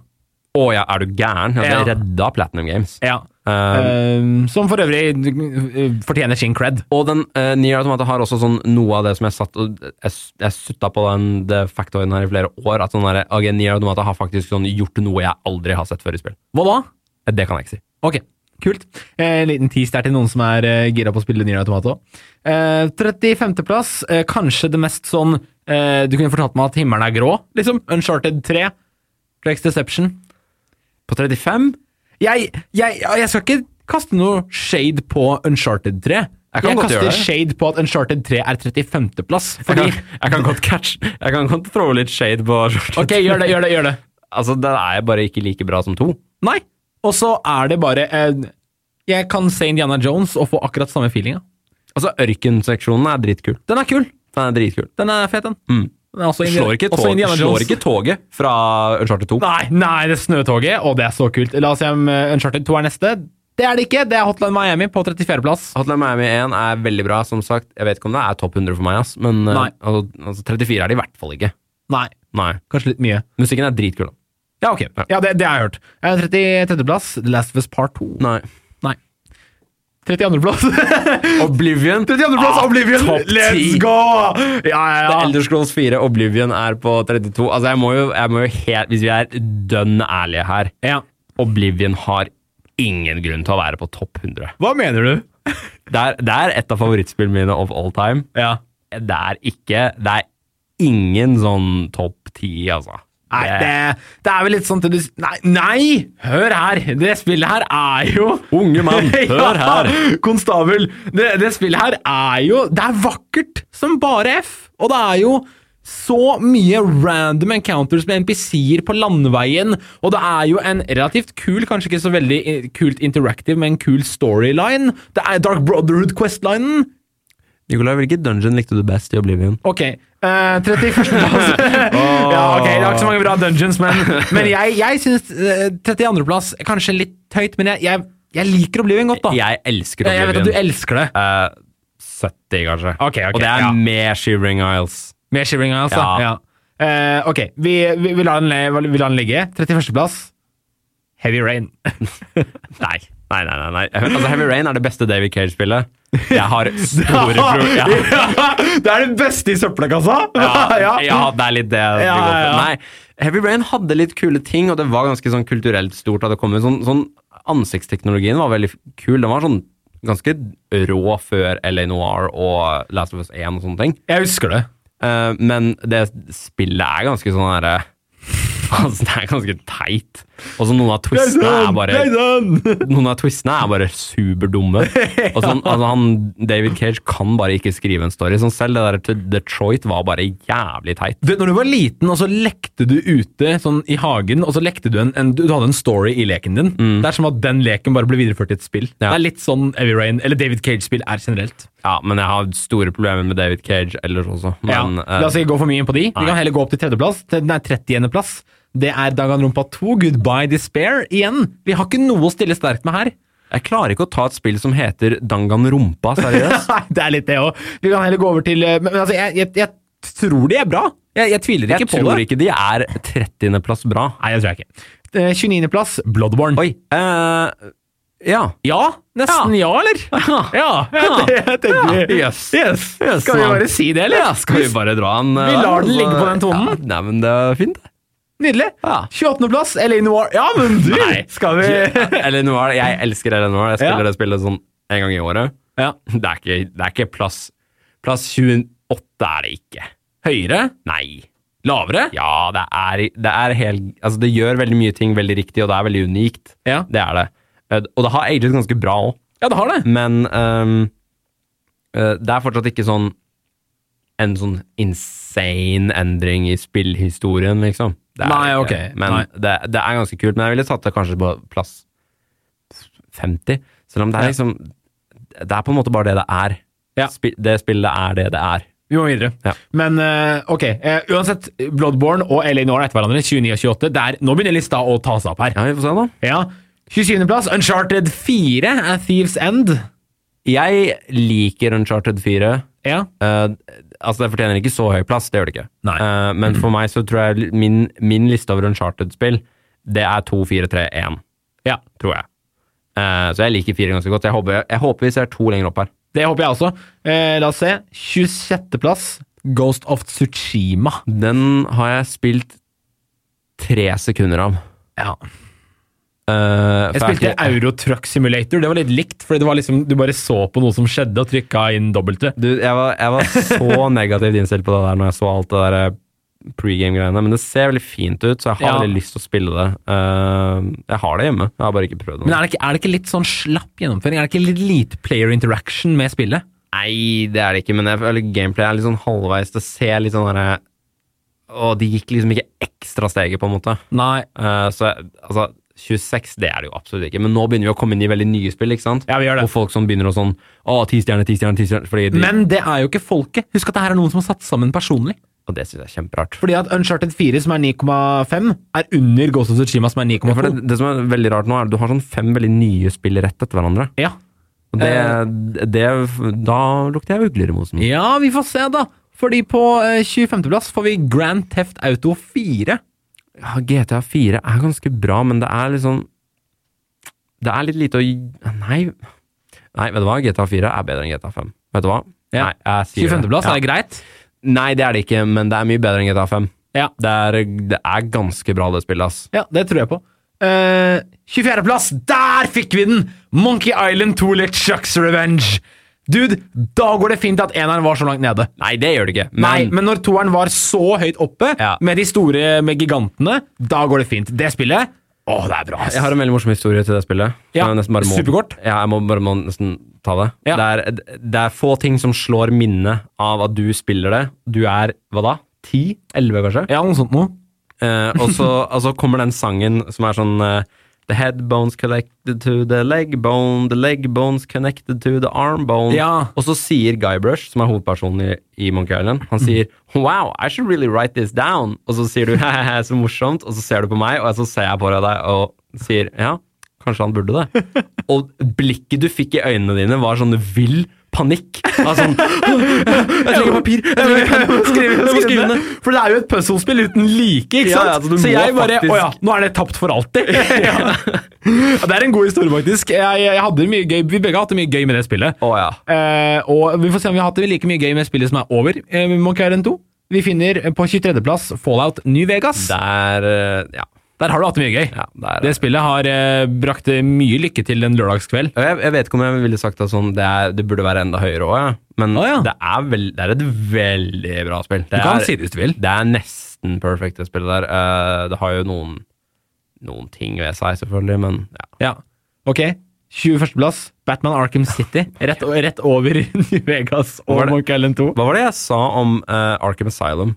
Speaker 3: Å ja, er du gæren? Ja,
Speaker 2: Ja.
Speaker 3: Det redda Platinum Games.
Speaker 2: Ja.
Speaker 3: Eh,
Speaker 2: som for øvrig eh, fortjener sin cred.
Speaker 3: og den uh, Near Automata har også sånn noe av det som jeg satt og jeg, jeg sutta på den det factoiden her i flere år, at sånn derre, ok, Near Automata har faktisk sånn gjort noe jeg aldri har sett før i spill.
Speaker 2: Hva da?
Speaker 3: Eh, Det kan jeg ikke si.
Speaker 2: Ok, kult. Eh, En liten tease der til noen som er eh, gira på å spille Nier Automato. Eh, 35. plass, eh, kanskje det mest sånn eh, Du kunne fortalt meg at himmelen er grå, liksom. Uncharted 3. Drake's Deception.
Speaker 3: På 35?
Speaker 2: Jeg, jeg, ja, jeg skal ikke kaste noe shade på Uncharted 3.
Speaker 3: Jeg kan
Speaker 2: jeg
Speaker 3: godt gjøre
Speaker 2: kaster
Speaker 3: det.
Speaker 2: shade på at Uncharted 3 er 35. plass,
Speaker 3: Fordi
Speaker 2: fordi
Speaker 3: jeg kan, jeg kan godt catch Jeg kan godt throw litt shade på Jordan.
Speaker 2: Ok, gjør det, gjør det, gjør det.
Speaker 3: Altså, den er bare ikke like bra som to.
Speaker 2: Nei. Og så er det bare eh, Jeg kan se Indiana Jones og få akkurat samme feelinga.
Speaker 3: Altså, ørkenseksjonen er dritkul.
Speaker 2: Den er kul.
Speaker 3: Den er dritkul.
Speaker 2: Den er fet, den. den er også Indi-
Speaker 3: Mm. Slår ikke,
Speaker 2: også
Speaker 3: tog,
Speaker 2: Indiana Jones.
Speaker 3: slår ikke toget fra Uncharted 2.
Speaker 2: Nei, nei, det er snøtoget, og det er så kult. La oss se om eh, Uncharted 2 er neste. Det er det ikke. Det er Hotline Miami på 34.-plass.
Speaker 3: Hotline Miami 1 er veldig bra, som sagt. Jeg vet ikke om det er topp 100 for meg, ass. men eh,
Speaker 2: Nei.
Speaker 3: altså, altså, 34 er det i hvert fall ikke.
Speaker 2: Nei,
Speaker 3: Nei.
Speaker 2: kanskje litt mye.
Speaker 3: Musikken er dritkul, da.
Speaker 2: Ja, ok. Ja, Det, det har jeg hørt. Eh, 30 33.-plass, The Last of Us Part 2.
Speaker 3: Nei.
Speaker 2: 32.-plass.
Speaker 3: Oblivion!
Speaker 2: 32.-plass,
Speaker 3: Ah,
Speaker 2: Oblivion!
Speaker 3: topp
Speaker 2: Let's
Speaker 3: 10.
Speaker 2: go! Ja, ja,
Speaker 3: Det er
Speaker 2: ja.
Speaker 3: Elder Scrolls 4, Oblivion er på 32. Altså, jeg må jo, jeg må jo helt Hvis vi er dønn ærlige her
Speaker 2: Ja.
Speaker 3: Oblivion har ingen grunn til å være på topp 100.
Speaker 2: Hva mener du?
Speaker 3: Det er, det er et av favorittspillene mine of all time.
Speaker 2: Ja.
Speaker 3: Det er ikke Det er ingen sånn topp 10, altså.
Speaker 2: Nei, det, det er vel litt sånn til du s- Nei, nei! Hør her! Det spillet her er jo
Speaker 3: Unge mann, hør
Speaker 2: Ja,
Speaker 3: her!
Speaker 2: Konstabel, det, det spillet her er jo Det er vakkert som bare F. Og det er jo så mye random encounters med NPC-er på landveien, og det er jo en relativt kul, kanskje ikke så veldig eh, kult interactive, men en kul storyline. Det er Dark Brotherhood Quest-linen.
Speaker 3: Nikolai, hvilken dungeon likte du best i Oblivion?
Speaker 2: Ok. eh, 31. plass. ja, ok, Det er ikke så mange bra dungeons, men, men jeg, jeg syns eh, 32. plass er kanskje litt høyt, men jeg, jeg, jeg liker Oblivion godt, da.
Speaker 3: Jeg elsker
Speaker 2: Jeg, vet at
Speaker 3: Oblivion.
Speaker 2: du elsker det.
Speaker 3: Eh, 70, kanskje.
Speaker 2: Ok, ok,
Speaker 3: Og det er
Speaker 2: ja.
Speaker 3: med Shivering Isles.
Speaker 2: Med Shivering Isles, da.
Speaker 3: Ja.
Speaker 2: Ja. Eh, ok, vi, vi, vi, lar den, le- vi lar den ligge. 31. plass. Heavy Rain.
Speaker 3: Nei. Nei, nei, nei. nei. Altså, Heavy Rain er det beste David Cage-spillet. Jeg har store problemer
Speaker 2: Ja, det er det beste i søppelkassa!
Speaker 3: ja, ja, det er litt det. det
Speaker 2: Ja,
Speaker 3: går for.
Speaker 2: ja.
Speaker 3: Nei, Heavy Rain hadde litt kule ting, og det var ganske sånn kulturelt stort. Da det kom ut. Sånn, sånn Ansiktsteknologien var veldig kul. Den var sånn ganske rå før LA Noir og Last of Us 1 og sånne ting.
Speaker 2: Jeg husker det.
Speaker 3: Eh, men det spillet er ganske sånn herre Altså, det er ganske teit. Og så noen av twistene er sånn. bare noen av twistene er bare superdumme. Og sånn, altså han, David Cage kan bare ikke skrive en story. Sånn selv det der til Detroit var bare jævlig teit.
Speaker 2: Du, når du var liten, og så lekte du ute sånn i hagen, og så lekte du en, en du, du hadde en story i leken din. Det er som at den leken bare ble videreført i et spill.
Speaker 3: Mm. Ja.
Speaker 2: Det er litt sånn Heavy Rain, eller David Cage-spill er generelt.
Speaker 3: Ja, Men jeg har store problemer med David Cage ellers også.
Speaker 2: Ja.
Speaker 3: Men, eh,
Speaker 2: La oss ikke gå for mye inn på de. Vi
Speaker 3: nei.
Speaker 2: kan heller gå opp til tredjeplass. Til- Nei, 30. plass. Det er Danganronpa 2, Goodbye Despair, igjen. Vi har ikke noe å stille sterkt med her.
Speaker 3: jeg klarer ikke å ta et spill som heter Danganrompa seriøst.
Speaker 2: Nei, det er litt det òg. Vi kan heller gå over til eh, Men, men altså, jeg, jeg, jeg tror de er bra. Jeg, jeg tviler ikke
Speaker 3: Jeg
Speaker 2: på
Speaker 3: tror
Speaker 2: det.
Speaker 3: ikke de er 30.-plass bra.
Speaker 2: Nei, jeg tror jeg ikke. Eh, 29. plass, Bloodborne.
Speaker 3: Oi. eh, ja.
Speaker 2: Ja, nesten ja, eller? Ja, det jeg tenker vi.
Speaker 3: Yes.
Speaker 2: Yes.
Speaker 3: Yes,
Speaker 2: Skal vi
Speaker 3: man.
Speaker 2: bare si det, eller?
Speaker 3: Ja, skal vi bare dra den? eh,
Speaker 2: Vi lar
Speaker 3: der,
Speaker 2: den
Speaker 3: altså?
Speaker 2: ligge på den tonen.
Speaker 3: Ja, nei, men det er fint, det.
Speaker 2: Nydelig.
Speaker 3: Ja.
Speaker 2: 28. plass, LA Noir. Ja, men du!
Speaker 3: Nei.
Speaker 2: Skal vi
Speaker 3: Eller Noir, jeg elsker Eller Noir. Jeg spiller
Speaker 2: Ja.
Speaker 3: det spillet sånn en gang i året.
Speaker 2: Ja.
Speaker 3: Det er ikke, det er ikke plass Plass 28 er det ikke.
Speaker 2: Høyere?
Speaker 3: Nei.
Speaker 2: Lavere?
Speaker 3: Ja, det er, det er helt Altså, det gjør veldig mye ting veldig riktig, og det er veldig unikt.
Speaker 2: Ja.
Speaker 3: Det er det. Eh, Og det har aget ganske bra òg,
Speaker 2: Ja, det har det.
Speaker 3: men ehm, eh, det er fortsatt ikke sånn en sånn insane endring i spillhistorien, liksom. Det er
Speaker 2: Nei,
Speaker 3: det
Speaker 2: ok.
Speaker 3: ikke. Men
Speaker 2: Nei.
Speaker 3: Det, det er ganske kult. Men jeg ville satt det kanskje på plass 50, selv om det
Speaker 2: Ja.
Speaker 3: er liksom Det er på en måte bare det det er.
Speaker 2: Ja.
Speaker 3: Spi- det spillet er det det er.
Speaker 2: Vi må videre.
Speaker 3: Ja.
Speaker 2: Men eh, ok, eh, uansett, Bloodborne og LA Noir er etter hverandre. 29 og 28. Det er- nå begynner lista å ta seg opp her.
Speaker 3: Ja, vi får se, da.
Speaker 2: Ja. 27. plass, Uncharted 4 er Thieves End.
Speaker 3: Jeg liker Uncharted 4.
Speaker 2: Ja.
Speaker 3: Eh, altså, det fortjener ikke så høy plass, det gjør det ikke.
Speaker 2: Nei.
Speaker 3: Eh, men for meg så tror jeg min, min liste over Uncharted-spill, det er 2, 4, 3, 1,
Speaker 2: ja.
Speaker 3: tror jeg. Eh, så jeg liker 4 ganske godt. Jeg håper, jeg håper vi ser to lenger opp her.
Speaker 2: Det håper jeg også. Eh, la oss se. 26. plass, Ghost of Tsushima.
Speaker 3: Den har jeg spilt tre sekunder av.
Speaker 2: Ja.
Speaker 3: Eh,
Speaker 2: Jeg
Speaker 3: for
Speaker 2: spilte
Speaker 3: er ikke-
Speaker 2: Euro Truck Simulator. Det var litt likt, fordi det var liksom, du bare så på noe som skjedde og trykka inn W.
Speaker 3: Du, jeg var, jeg var så negativt innstilt på det der når jeg så alt det der eh, pregame-greiene, men det ser veldig fint ut, så jeg
Speaker 2: Ja.
Speaker 3: har veldig lyst til å spille det. Eh, jeg har det hjemme, jeg har bare ikke prøvd det.
Speaker 2: Men er det, ikke, er det ikke litt sånn slapp gjennomføring? Er det ikke litt lite player interaction med spillet?
Speaker 3: Nei, det er det ikke, men jeg føler gameplay er litt sånn halvveis. Det ser litt sånn derre Å, de gikk liksom ikke ekstra steget, på en måte.
Speaker 2: Nei.
Speaker 3: Eh, så jeg- altså 26, det er det jo absolutt ikke, men nå begynner vi å komme inn i veldig nye spill, ikke sant?
Speaker 2: Ja, vi gjør det.
Speaker 3: Og folk som begynner å sånn Å, ti stjerner, ti stjerner, ti stjerner. Fordi de,
Speaker 2: Men det er jo ikke folket. Husk at det her er noen som har satt sammen personlig.
Speaker 3: og det syns jeg er kjemperart.
Speaker 2: Fordi at Uncharted 4, som er 9,5, er under Ghost of Tsushima, som er
Speaker 3: Ja, for
Speaker 2: 9,2.
Speaker 3: det, det som er veldig rart nå, er at du har sånn fem veldig nye spill rett etter hverandre.
Speaker 2: Ja.
Speaker 3: Og det,
Speaker 2: Eh.
Speaker 3: det, da lukter jeg ugler i mosen.
Speaker 2: ja, vi får se, da. Fordi på eh, 25.-plass får vi Grand Theft Auto 4.
Speaker 3: Ja, GTA 4 er ganske bra, men det er litt sånn Det er litt lite å gi- Nei. Nei, vet du hva? GTA 4 er bedre enn GTA 5. Vet du hva?
Speaker 2: Ja.
Speaker 3: Nei, jeg sier det.
Speaker 2: 25.-plass,
Speaker 3: Ja.
Speaker 2: er det greit?
Speaker 3: Nei, det er det ikke, men det er mye bedre enn GTA 5.
Speaker 2: Ja.
Speaker 3: Det er, det er ganske bra, det spillet, ass.
Speaker 2: Ja, det tror jeg på. Eh, 24.-plass, der fikk vi den! Monkey Island 2 LeChucks Revenge. Dude, da går det fint at eneren var så langt nede.
Speaker 3: Nei, det gjør det ikke. Men,
Speaker 2: Nei, men når toeren var så høyt oppe,
Speaker 3: Ja.
Speaker 2: med de store med gigantene, da går det fint. Det spillet, åh, det er bra. ass.
Speaker 3: Jeg har en veldig morsom historie til det spillet.
Speaker 2: Ja,
Speaker 3: Jeg nesten må,
Speaker 2: superkort.
Speaker 3: Ja, jeg må bare må nesten ta det.
Speaker 2: Ja.
Speaker 3: Det, er, det er få ting som slår minnet av at du spiller det. Du er, hva da? 10-11 kanskje?
Speaker 2: Ja, noe sånt noe.
Speaker 3: Eh, og, så, og så kommer den sangen som er sånn eh, The head bones connected to the leg bone, the leg bones connected to the arm bone.
Speaker 2: Ja.
Speaker 3: Og så sier Guy Brush, som er hovedpersonen i, i Monkey Island, han sier Wow, I should really write this down. Og så sier du «Hahaha, så morsomt, og så ser du på meg, og så ser jeg på deg og sier ja, kanskje han burde det. og blikket du fikk i øynene dine, var sånn vill panikk. Altså, jeg trenger papir, jeg trenger penn, jeg må skrive, jeg må skrive ned.
Speaker 2: For det er jo et puzzlespill uten like, ikke
Speaker 3: Ja,
Speaker 2: sant?
Speaker 3: ja, så du
Speaker 2: så
Speaker 3: må
Speaker 2: jeg bare
Speaker 3: faktisk-
Speaker 2: Å ja, nå er det tapt for alltid. ja. Ja, Det er en god historie, faktisk. Jeg, jeg hadde mye gøy, vi begge hadde mye gøy med det spillet.
Speaker 3: Å ja.
Speaker 2: Eh, og vi får se om vi har hatt det like mye gøy med spillet som er over eh, med Monkey Island 2. Vi finner eh, på 23.-plass Fallout New Vegas. Der.
Speaker 3: Der eh, Ja.
Speaker 2: har du hatt det mye gøy.
Speaker 3: ja der,
Speaker 2: Det spillet har eh, brakt mye lykke til en lørdagskveld.
Speaker 3: Og Jeg, jeg vet ikke om jeg ville sagt at sånn, det, er, det burde være enda høyere òg, ja. men
Speaker 2: Å, ja.
Speaker 3: det, er vel, det er et veldig bra spill. Det
Speaker 2: Du kan
Speaker 3: er,
Speaker 2: si det hvis du vil.
Speaker 3: Det er nesten perfekt, det spillet der. Eh, det har jo noen, noen ting ved seg, selvfølgelig, men ja.
Speaker 2: Ja. Ok, 21.-plass Batman Arkham City. Rett, rett over New Vegas
Speaker 3: Var
Speaker 2: og
Speaker 3: det-
Speaker 2: Monkey Island 2.
Speaker 3: Hva var det jeg sa om eh, Arkham Asylum?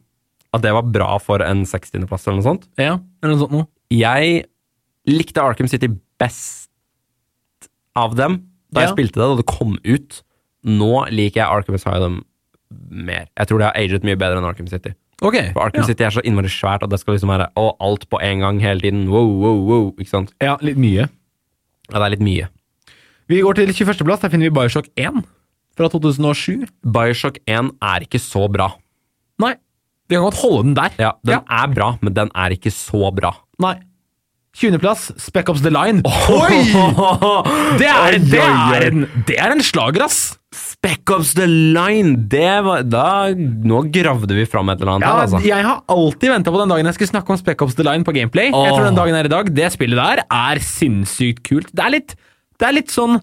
Speaker 3: At det var bra for en 60.-plass eller noe sånt?
Speaker 2: Ja, eller noe sånt noe.
Speaker 3: Jeg likte Arkham City best av dem da
Speaker 2: Ja.
Speaker 3: jeg spilte det, da det kom ut. Nå liker jeg Arkham Asylum mer. Jeg tror det har aget mye bedre enn Arkham City.
Speaker 2: Ok.
Speaker 3: For Arkham
Speaker 2: ja.
Speaker 3: City er så innmari svært at det skal liksom være å, alt på en gang hele tiden. Wow, wow, wow. Ikke sant?
Speaker 2: Ja, litt mye.
Speaker 3: Ja, det er litt mye.
Speaker 2: Vi går til 21.-plass. Der finner vi Bioshock 1 fra 2007.
Speaker 3: Bioshock 1 er ikke så bra.
Speaker 2: Nei, vi kan godt holde den der.
Speaker 3: Ja, den er bra, men den er ikke så bra.
Speaker 2: Nei. 20.-plass, Spec Ops The Line. Det er, det,
Speaker 3: Oi, oi,
Speaker 2: er
Speaker 3: oi.
Speaker 2: en, det er en slager, ass!
Speaker 3: Spec Ops The Line! Det var, da, nå gravde vi fram et eller annet.
Speaker 2: Ja,
Speaker 3: her, altså.
Speaker 2: Jeg har alltid venta på den dagen jeg skulle snakke om Spec Ops The Line på Gameplay. Jeg tror
Speaker 3: Åh.
Speaker 2: den dagen er i dag. Det spillet der er sinnssykt kult. Det er litt, det er litt sånn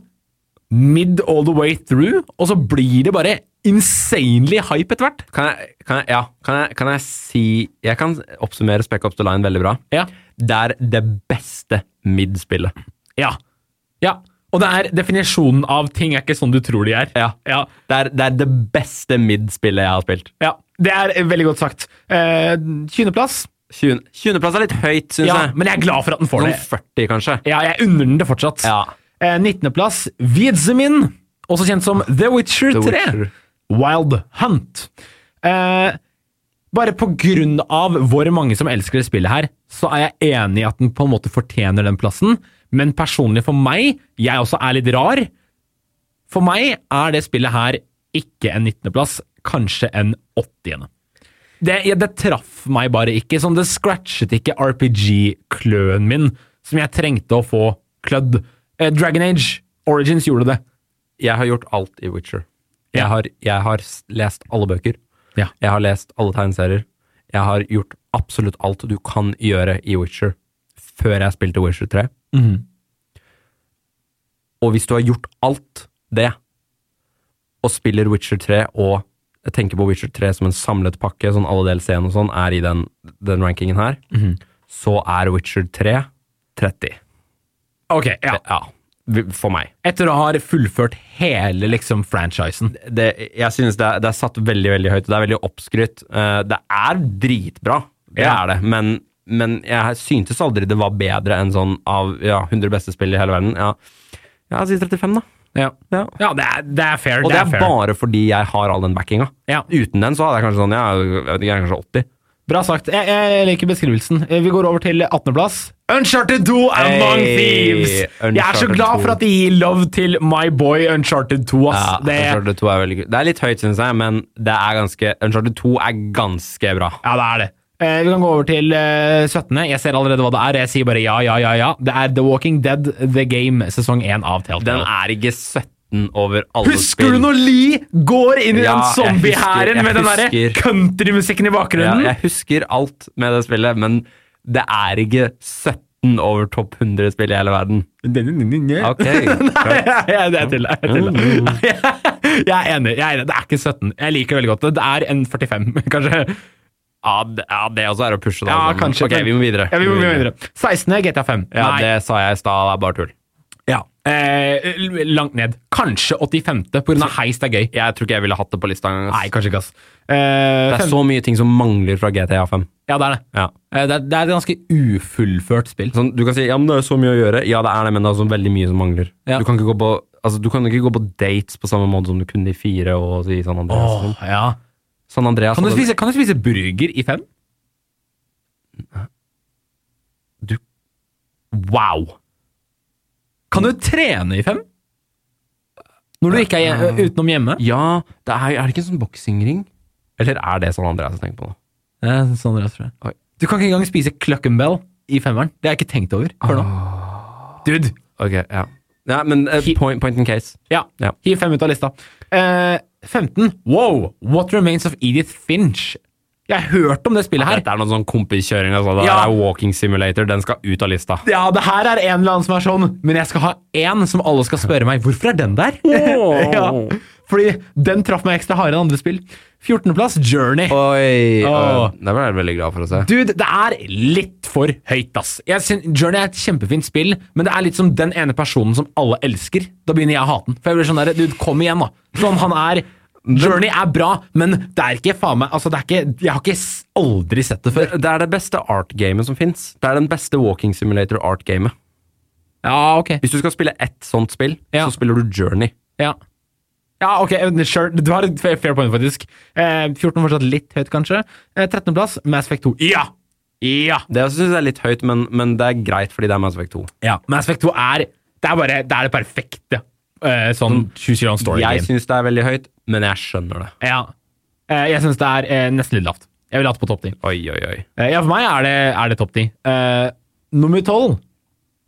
Speaker 2: mid all the way through, og så blir det bare insanely hype etter hvert.
Speaker 3: Kan jeg, kan jeg, ja, kan jeg, kan jeg si Jeg kan oppsummere Spec Ops The Line veldig bra.
Speaker 2: Ja.
Speaker 3: Det er det beste mid-spillet.
Speaker 2: Ja. ja. Og det er definisjonen av ting er ikke sånn du tror de er.
Speaker 3: Ja.
Speaker 2: Ja.
Speaker 3: Det er, det er det beste mid-spillet jeg har spilt.
Speaker 2: ja. Det er veldig godt sagt. Eh, 20.-plass.
Speaker 3: 20. 20.-plass er litt høyt, syns
Speaker 2: Ja,
Speaker 3: jeg.
Speaker 2: men jeg er glad for at den får
Speaker 3: Sånn
Speaker 2: det.
Speaker 3: 40, kanskje.
Speaker 2: Ja, jeg unner den det fortsatt.
Speaker 3: Ja.
Speaker 2: Eh, 19.-plass, Wiedzemin, også kjent som The Witcher 3.
Speaker 3: The Witcher.
Speaker 2: Wild Hunt. Eh, bare på grunn av hvor mange som elsker det spillet her, så er jeg enig i at den på en måte fortjener den plassen, men personlig for meg, jeg også er litt rar, for meg er det spillet her ikke en 19.-plass, kanskje en 80. Det, ja, det traff meg bare ikke. Sånn, det scratchet ikke RPG-kløen min, som jeg trengte å få klødd. Eh, Dragon Age Origins gjorde det.
Speaker 3: Jeg har gjort alt i Witcher.
Speaker 2: Ja.
Speaker 3: Jeg har, jeg har s- lest alle bøker.
Speaker 2: Ja.
Speaker 3: Jeg har lest alle tegneserier. Jeg har gjort absolutt alt du kan gjøre i Witcher før jeg spilte Witcher 3.
Speaker 2: Mhm.
Speaker 3: Og hvis du har gjort alt det, og spiller Witcher 3 og jeg tenker på Witcher 3 som en samlet pakke, sånn alle DLC-ene og sånn er i den, den rankingen her,
Speaker 2: Mhm.
Speaker 3: så er Witcher 3 30.
Speaker 2: Ok, ja.
Speaker 3: Ja, vi- for meg.
Speaker 2: Etter å ha fullført hele liksom franchisen.
Speaker 3: Det, jeg synes det er, det er satt veldig, veldig høyt, og det er veldig oppskrytt. Eh, Det er dritbra, det
Speaker 2: Ja.
Speaker 3: er det, men, men jeg syntes aldri det var bedre enn sånn av ja, 100 beste spill i hele verden. Ja, ja si 35 da.
Speaker 2: Ja,
Speaker 3: Ja.
Speaker 2: ja det, er, det er fair.
Speaker 3: Og det er
Speaker 2: fair.
Speaker 3: bare fordi jeg har all den backinga.
Speaker 2: Ja.
Speaker 3: Uten den så hadde jeg kanskje sånn, ja, jeg vet ikke, jeg er kanskje 80.
Speaker 2: Bra sagt. Jeg, jeg liker beskrivelsen. Eh, Vi går over til 18.-plass. Uncharted 2 Among
Speaker 3: Hey,
Speaker 2: Thieves! Jeg er så
Speaker 3: Uncharted
Speaker 2: glad
Speaker 3: 2.
Speaker 2: for at de gir love til my boy Uncharted 2. Ass.
Speaker 3: Ja,
Speaker 2: det,
Speaker 3: Uncharted 2 er veldig kult. Det er litt høyt, syns jeg, men det er ganske, Uncharted 2 er ganske bra.
Speaker 2: ja, det er det. Eh, vi kan gå over til eh, 17. Jeg ser allerede hva det er. Jeg sier bare ja, ja, ja. ja. Det er The Walking Dead The Game, sesong 1 av
Speaker 3: Den
Speaker 2: Telltale.
Speaker 3: er ikke 17 over alle
Speaker 2: Husker du
Speaker 3: spill.
Speaker 2: når Lee går inn i den
Speaker 3: Ja, jeg
Speaker 2: zombiehæren
Speaker 3: husker, jeg
Speaker 2: med den derre
Speaker 3: husker.
Speaker 2: countrymusikken i
Speaker 3: Ja,
Speaker 2: bakgrunnen?
Speaker 3: jeg husker alt med det spillet, men det er ikke 17 over topp 100 spill i hele verden. Ok,
Speaker 2: Nei, jeg- jeg tuller. Jeg, tuller. jeg er enig. jeg er enig. Det er ikke 17. Jeg liker veldig godt det. Det er en 45, kanskje.
Speaker 3: Ja, det, ja, det også er å pushe. det,
Speaker 2: Ja,
Speaker 3: altså.
Speaker 2: kanskje.
Speaker 3: Ok, vi må videre.
Speaker 2: Ja, vi må videre. 16. GTA 5.
Speaker 3: Ja,
Speaker 2: Nei.
Speaker 3: det sa jeg i stad, det er bare tull.
Speaker 2: Ja. Eh, langt ned. Kanskje 85. På grunn av heis, det er gøy.
Speaker 3: Jeg tror ikke jeg ville hatt det på lista engang. ass.
Speaker 2: Nei, kanskje ikke, ass. Eh,
Speaker 3: Det er
Speaker 2: fem-
Speaker 3: så mye ting som mangler fra GTA 5.
Speaker 2: Ja, det er det.
Speaker 3: Ja.
Speaker 2: Eh, det, er, det er et ganske ufullført spill.
Speaker 3: Sånn, du kan si ja, men det er jo så mye å gjøre. Ja, det er det, men det er også veldig mye som mangler.
Speaker 2: Ja.
Speaker 3: Du, kan ikke gå på, altså, du kan ikke gå på dates på samme måte som du kunne i fire og i San Andreas. og sånn.
Speaker 2: Åh, ja.
Speaker 3: San Andreas
Speaker 2: kan, du
Speaker 3: hadde-
Speaker 2: spise, kan du spise burger i 5?
Speaker 3: Wow!
Speaker 2: Kan du trene i 5? Når du ikke er hje- utenom hjemme?
Speaker 3: Ja, det er, er det ikke en sånn boksingring? Eller er det San Andreas jeg tenker på nå?
Speaker 2: Det er sånn det er, tror jeg.
Speaker 3: Oi.
Speaker 2: Du kan ikke engang spise Cluckenbell i femmeren. Det har jeg ikke tenkt over. Hør nå. Dude!
Speaker 3: Ok, ja. Ja, men eh,
Speaker 2: Hi-
Speaker 3: point, point in case.
Speaker 2: Ja.
Speaker 3: Ja.
Speaker 2: Hiv fem ut av lista. Eh, 15. Wow! What Remains of Edith Finch. Jeg har hørt om det spillet her.
Speaker 3: Dette er noe sånn kompiskjøring. Altså. Det
Speaker 2: Ja.
Speaker 3: er walking simulator. Den skal ut av lista.
Speaker 2: Ja, det her er en eller annen som er sånn, men jeg skal ha én som alle skal spørre meg hvorfor er den der? ja, fordi den traff meg ekstra hardere enn andre spill. 14.-plass Journey.
Speaker 3: Oi!
Speaker 2: Åh.
Speaker 3: øh, Det ble jeg veldig glad for å se.
Speaker 2: Dude, det er litt for høyt, ass. Jeg syn- Journey er et kjempefint spill, men det er litt som den ene personen som alle elsker. Da begynner jeg å hate den. For jeg blir sånn der, dude, kom igjen, da. Sånn han er. Journey er bra, men det er ikke faen meg altså, det er ikke, Jeg har ikke s- aldri sett det før.
Speaker 3: Det er det beste art-gamet som fins. Det er den beste walking simulator art-gamet.
Speaker 2: Ja, ok.
Speaker 3: Hvis du skal spille ett sånt spill,
Speaker 2: Ja.
Speaker 3: så spiller du Journey.
Speaker 2: Ja, ja ok. eh, Sure. Du har et fair- fair point, faktisk. Eh, 14 fortsatt litt høyt, kanskje. Eh, 13.-plass, Mass Effect 2. Ja! Ja!
Speaker 3: Det syns jeg er litt høyt, men, men det er greit fordi det er Mass Effect 2.
Speaker 2: ja. Mass Effect 2 er Det er bare det, er det perfekte. eh, sånn 20 long story
Speaker 3: Mm. Jeg
Speaker 2: game.
Speaker 3: syns det er veldig høyt, men jeg skjønner det.
Speaker 2: Ja. Eh, Jeg syns det er eh, nesten litt lavt. Jeg vil ha det på topp 10.
Speaker 3: Oi, oi, oi.
Speaker 2: Eh, Ja, for meg er det, er det topp 10. Eh, nummer 12,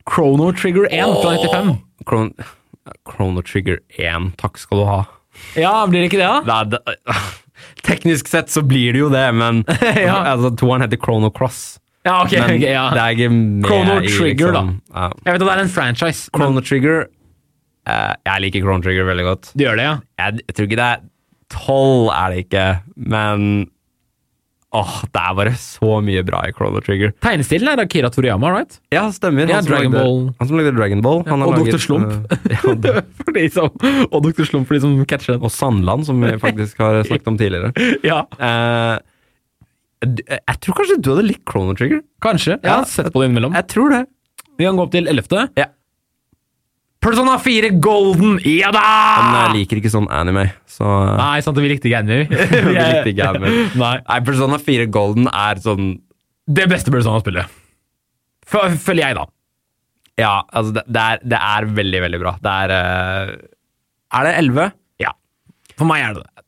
Speaker 2: Chrono Trigger 1 fra 95.
Speaker 3: Chron Chrono Trigger 1, takk skal du ha.
Speaker 2: Ja, blir det ikke det, da?
Speaker 3: Det er, det, teknisk sett så blir det jo det, men
Speaker 2: Ja.
Speaker 3: altså, toeren heter Chrono Cross.
Speaker 2: Ja, ok.
Speaker 3: Men
Speaker 2: ok, ja.
Speaker 3: det er ikke med
Speaker 2: Chrono
Speaker 3: i,
Speaker 2: Trigger,
Speaker 3: liksom, ja.
Speaker 2: Jeg vet at det er en franchise. men-
Speaker 3: Chrono Trigger eh, Jeg liker Chrono Trigger veldig godt.
Speaker 2: Du gjør det, ja?
Speaker 3: Jeg, jeg tror ikke det er tolv, er det ikke, men Åh, det er bare så mye bra i Chrono Trigger.
Speaker 2: Tegnestilen er Akira Toriyama, right?
Speaker 3: Ja, stemmer.
Speaker 2: Ja,
Speaker 3: han, som
Speaker 2: Dragon
Speaker 3: lagde,
Speaker 2: Ball.
Speaker 3: han som lagde Dragon Ball. han har
Speaker 2: og
Speaker 3: laget,
Speaker 2: Dr. Slump.
Speaker 3: eh, ja, og-
Speaker 2: for de som, og Dr. Slump for de som catcher den.
Speaker 3: og Sandland, som vi faktisk har snakket om tidligere.
Speaker 2: Ja,
Speaker 3: Eh, d- eh, jeg tror kanskje du hadde likt Chrono Trigger.
Speaker 2: kanskje. Jeg
Speaker 3: Ja.
Speaker 2: har sett på det innimellom.
Speaker 3: Jeg tror det.
Speaker 2: Vi kan gå opp til 11.
Speaker 3: Ja.
Speaker 2: Persona 4 Golden! Ja da!
Speaker 3: Men jeg liker ikke sånn anime, så
Speaker 2: Nei, sant, vi likte ikke anime.
Speaker 3: Vi likte ikke anime.
Speaker 2: Nei.
Speaker 3: Ah. Nei, Persona 4 Golden er sånn
Speaker 2: Det beste Persona-spillet. Fø- Føler jeg, da.
Speaker 3: Ja, altså, det, det, er, det er veldig, veldig bra. Det er eh, Er det 11?
Speaker 2: Ja. For meg er det det.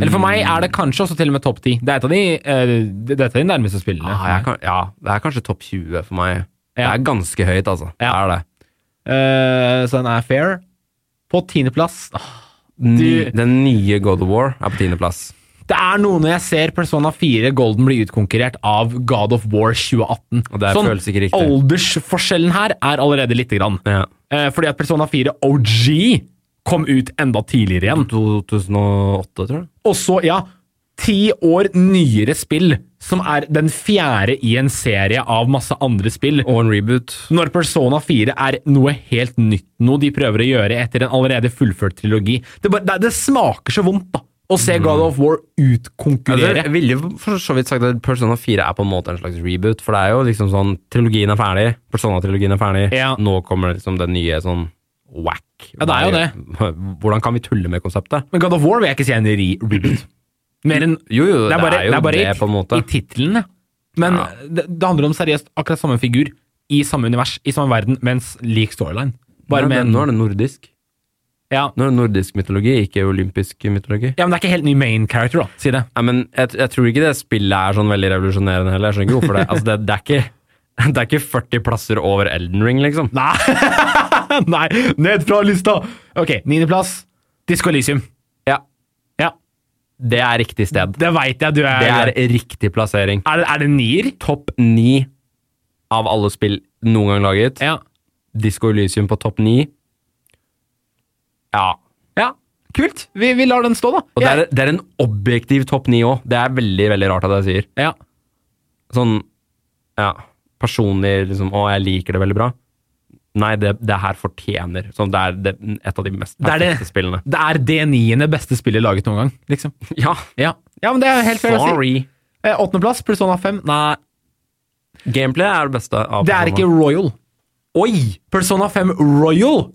Speaker 2: Eller for meg er det kanskje også til og med topp 10. Det er et av de, eh, det er et av de nærmeste spillene.
Speaker 3: Ah, jeg kan, ja, det er kanskje topp 20 for meg. Det
Speaker 2: Ja.
Speaker 3: er ganske høyt, altså. Det
Speaker 2: Ja.
Speaker 3: Er det.
Speaker 2: Eh, så den er fair. På tiendeplass ah,
Speaker 3: Ny,
Speaker 2: Du-
Speaker 3: den nye God of War er på tiendeplass.
Speaker 2: Det er noe når jeg ser Persona 4 Golden bli utkonkurrert av God of War 2018.
Speaker 3: Og det føles ikke riktig.
Speaker 2: Aldersforskjellen her er allerede lite grann.
Speaker 3: Ja.
Speaker 2: Eh, fordi at Persona 4 OG kom ut enda tidligere igjen.
Speaker 3: 2008, tror jeg.
Speaker 2: Og så, ja, ti år nyere spill, som er den fjerde i en serie av masse andre spill.
Speaker 3: Og en reboot.
Speaker 2: Når Persona 4 er noe helt nytt, noe de prøver å gjøre etter en allerede fullført trilogi. Det, bare, det, det smaker så vondt, da. Å se
Speaker 3: Mm.
Speaker 2: God of War utkonkurrere.
Speaker 3: Altså, Jeg ville jo for så vidt sagt at Persona 4 er på en måte en slags reboot, for det er jo liksom sånn Trilogien er ferdig, Persona-trilogien er ferdig,
Speaker 2: Ja.
Speaker 3: nå kommer liksom den nye sånn whack.
Speaker 2: Ja, det er jo
Speaker 3: Hvordan kan vi tulle med konseptet?
Speaker 2: Men God of War vil jeg ikke si er en ri- reboot. Mer enn
Speaker 3: Jo, jo,
Speaker 2: Det er bare, det, er bare
Speaker 3: det,
Speaker 2: i-
Speaker 3: på en måte.
Speaker 2: i tittelen, ja. Men
Speaker 3: Ja.
Speaker 2: det, det handler om seriøst akkurat samme figur, i samme univers, i samme verden, mens lik storyline. Bare
Speaker 3: Nå er
Speaker 2: med
Speaker 3: det-
Speaker 2: en,
Speaker 3: Nå er det nordisk.
Speaker 2: ja.
Speaker 3: Nå er det nordisk mytologi, ikke olympisk mytologi.
Speaker 2: ja, men det er ikke helt ny main character, da. Si det.
Speaker 3: Nei, men jeg, jeg tror ikke det spillet er sånn veldig revolusjonerende heller. Jeg skjønner ikke hvorfor det. Altså, det, det, er ikke, det er ikke 40 plasser over Elden Ring, liksom.
Speaker 2: Nei. Nei, ned fra lista! Ok, niendeplass. Disko Elysium.
Speaker 3: Ja,
Speaker 2: Ja,
Speaker 3: det er riktig sted.
Speaker 2: det veit jeg du er.
Speaker 3: Det er riktig plassering.
Speaker 2: er, det, er det nier?
Speaker 3: Topp ni av alle spill noen gang laget.
Speaker 2: Ja.
Speaker 3: Disco Elysium på topp ni. Ja.
Speaker 2: ja. Kult. Vi, vi lar den stå, da.
Speaker 3: Og det er, det er en objektiv topp ni òg. Det er veldig veldig rart at jeg sier.
Speaker 2: ja.
Speaker 3: Sånn ja, personlig liksom Å, jeg liker det veldig bra. Nei, det, det her fortjener sånn, Det er det, et av de mest
Speaker 2: Det er det.
Speaker 3: perfekte spillene.
Speaker 2: Det er det niende beste spillet laget noen gang, liksom.
Speaker 3: Ja.
Speaker 2: Ja, ja men det er helt fair å si.
Speaker 3: Sorry.
Speaker 2: Eh, Åttendeplass, Persona 5. Nei,
Speaker 3: Gameplay er det beste. Av
Speaker 2: det er ikke
Speaker 3: personene.
Speaker 2: Royal. Oi! Persona 5 Royal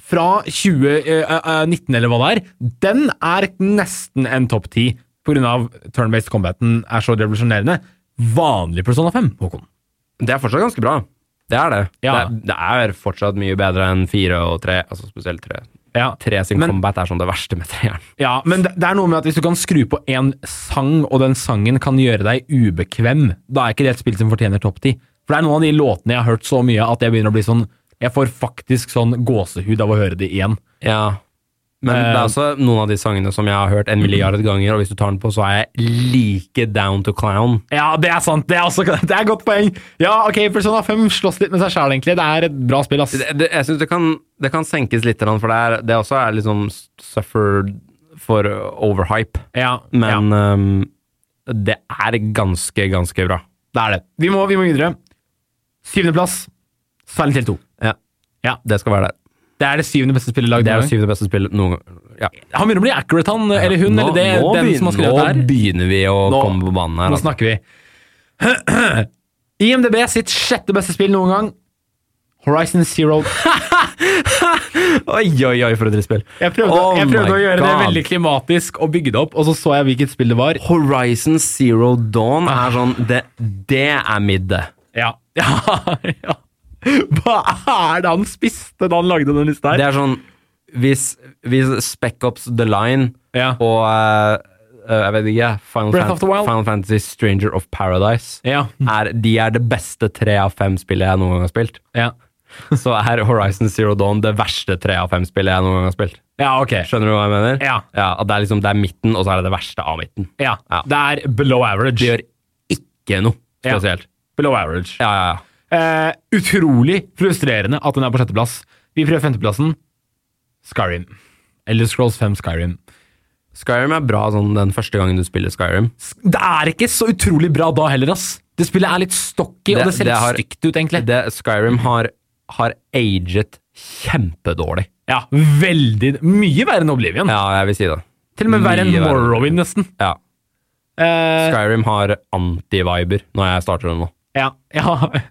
Speaker 2: fra eh, 2019, eller hva det er, den er nesten en topp 10 pga. turn-based combaten er så revolusjonerende. Vanlig Persona 5, Håkon.
Speaker 3: Det er fortsatt ganske bra. Det er det.
Speaker 2: Ja.
Speaker 3: Det, er, det er fortsatt mye bedre enn fire og tre, altså spesielt tre.
Speaker 2: Ja,
Speaker 3: Tre sin
Speaker 2: Men-
Speaker 3: combat er sånn det verste med treeren.
Speaker 2: Ja, men det det er noe med at hvis du kan skru på en sang, og den sangen kan gjøre deg ubekvem, da er ikke det et spill som fortjener topp 10. For det er noen av de låtene jeg har hørt så mye at jeg begynner å bli sånn Jeg får faktisk sånn gåsehud av å høre de igjen.
Speaker 3: Ja. Men
Speaker 2: Eh. Mm.
Speaker 3: det er også noen av de sangene som jeg har hørt en milliard ganger, og hvis du tar den på, så er jeg like down to clown.
Speaker 2: Ja, det er sant. Det er, også, det er et godt poeng. Ja, ok, Persona 5 slåss litt med seg sjæl, egentlig. Det er et bra spill, ass.
Speaker 3: Det, det, jeg syns det, kan- det kan senkes litt, for det, er, det også er liksom suffered for overhype.
Speaker 2: Ja, ja,
Speaker 3: Men ehm, det er ganske, ganske bra.
Speaker 2: det er det. Vi må, vi må videre. Syvendeplass, Silent Hill 2.
Speaker 3: Ja.
Speaker 2: Ja.
Speaker 3: Det skal være der.
Speaker 2: Det er det syvende beste spillet lagd.
Speaker 3: Det er
Speaker 2: noen
Speaker 3: jo
Speaker 2: gang.
Speaker 3: syvende beste spill noen gang. Ja.
Speaker 2: Han begynner å bli accurate, han, eller hun,
Speaker 3: Nå-
Speaker 2: eller det,
Speaker 3: nå
Speaker 2: den
Speaker 3: begyn-
Speaker 2: som har skrevet det her.
Speaker 3: Nå begynner vi å
Speaker 2: Nå-
Speaker 3: komme på banen her.
Speaker 2: Nå
Speaker 3: Altså.
Speaker 2: snakker vi. IMDb sitt sjette beste spill noen gang. Horizon Zero.
Speaker 3: Oi, oi, oi, for et drittspill.
Speaker 2: Jeg prøvde,
Speaker 3: Oh
Speaker 2: jeg prøvde å
Speaker 3: my
Speaker 2: gjøre det
Speaker 3: God.
Speaker 2: veldig klimatisk og bygge det opp, og så så jeg hvilket spill det var.
Speaker 3: Horizon Zero Dawn
Speaker 2: Ah.
Speaker 3: er sånn Det, det er middag.
Speaker 2: Ja. ja, ja. Hva er det han spiste da han lagde den lista
Speaker 3: Det
Speaker 2: her?
Speaker 3: er sånn Hvis, hvis Spec Ops The Line
Speaker 2: Ja.
Speaker 3: og eh, eh, jeg vet ikke, Final,
Speaker 2: Breath of the Wild.
Speaker 3: Final Fantasy Stranger of Paradise
Speaker 2: Ja.
Speaker 3: er, De er det beste tre av fem spillet jeg noen gang har spilt.
Speaker 2: Ja.
Speaker 3: Så er Horizon Zero Dawn det verste tre av fem spillet jeg noen gang har spilt.
Speaker 2: ja, ok.
Speaker 3: Skjønner du hva jeg mener?
Speaker 2: Ja.
Speaker 3: at det, er liksom, det er midten, og så er det det verste av midten.
Speaker 2: Ja.
Speaker 3: Ja.
Speaker 2: Det er below average.
Speaker 3: Det gjør ikke noe
Speaker 2: Ja.
Speaker 3: spesielt.
Speaker 2: Below average.
Speaker 3: Ja, ja, ja.
Speaker 2: Eh, utrolig frustrerende at den er på sjetteplass. Vi prøver femteplassen. Skyrim. Eller Scrolls 5 Skyrim.
Speaker 3: Skyrim er bra sånn den første gangen du spiller Skyrim.
Speaker 2: Det er ikke så utrolig bra da heller, ass. Det spillet er litt stocky, og det ser litt
Speaker 3: har-
Speaker 2: stygt ut, egentlig.
Speaker 3: Det, Skyrim har, har aget kjempedårlig.
Speaker 2: ja, veldig Mye verre enn Oblivion.
Speaker 3: Ja, jeg vil si det.
Speaker 2: Mm. Til og med verre enn
Speaker 3: Mye verre.
Speaker 2: Morrowind, nesten.
Speaker 3: Ja.
Speaker 2: Eh,
Speaker 3: Skyrim har anti-viber når jeg starter det nå.
Speaker 2: ja, ja. Eh,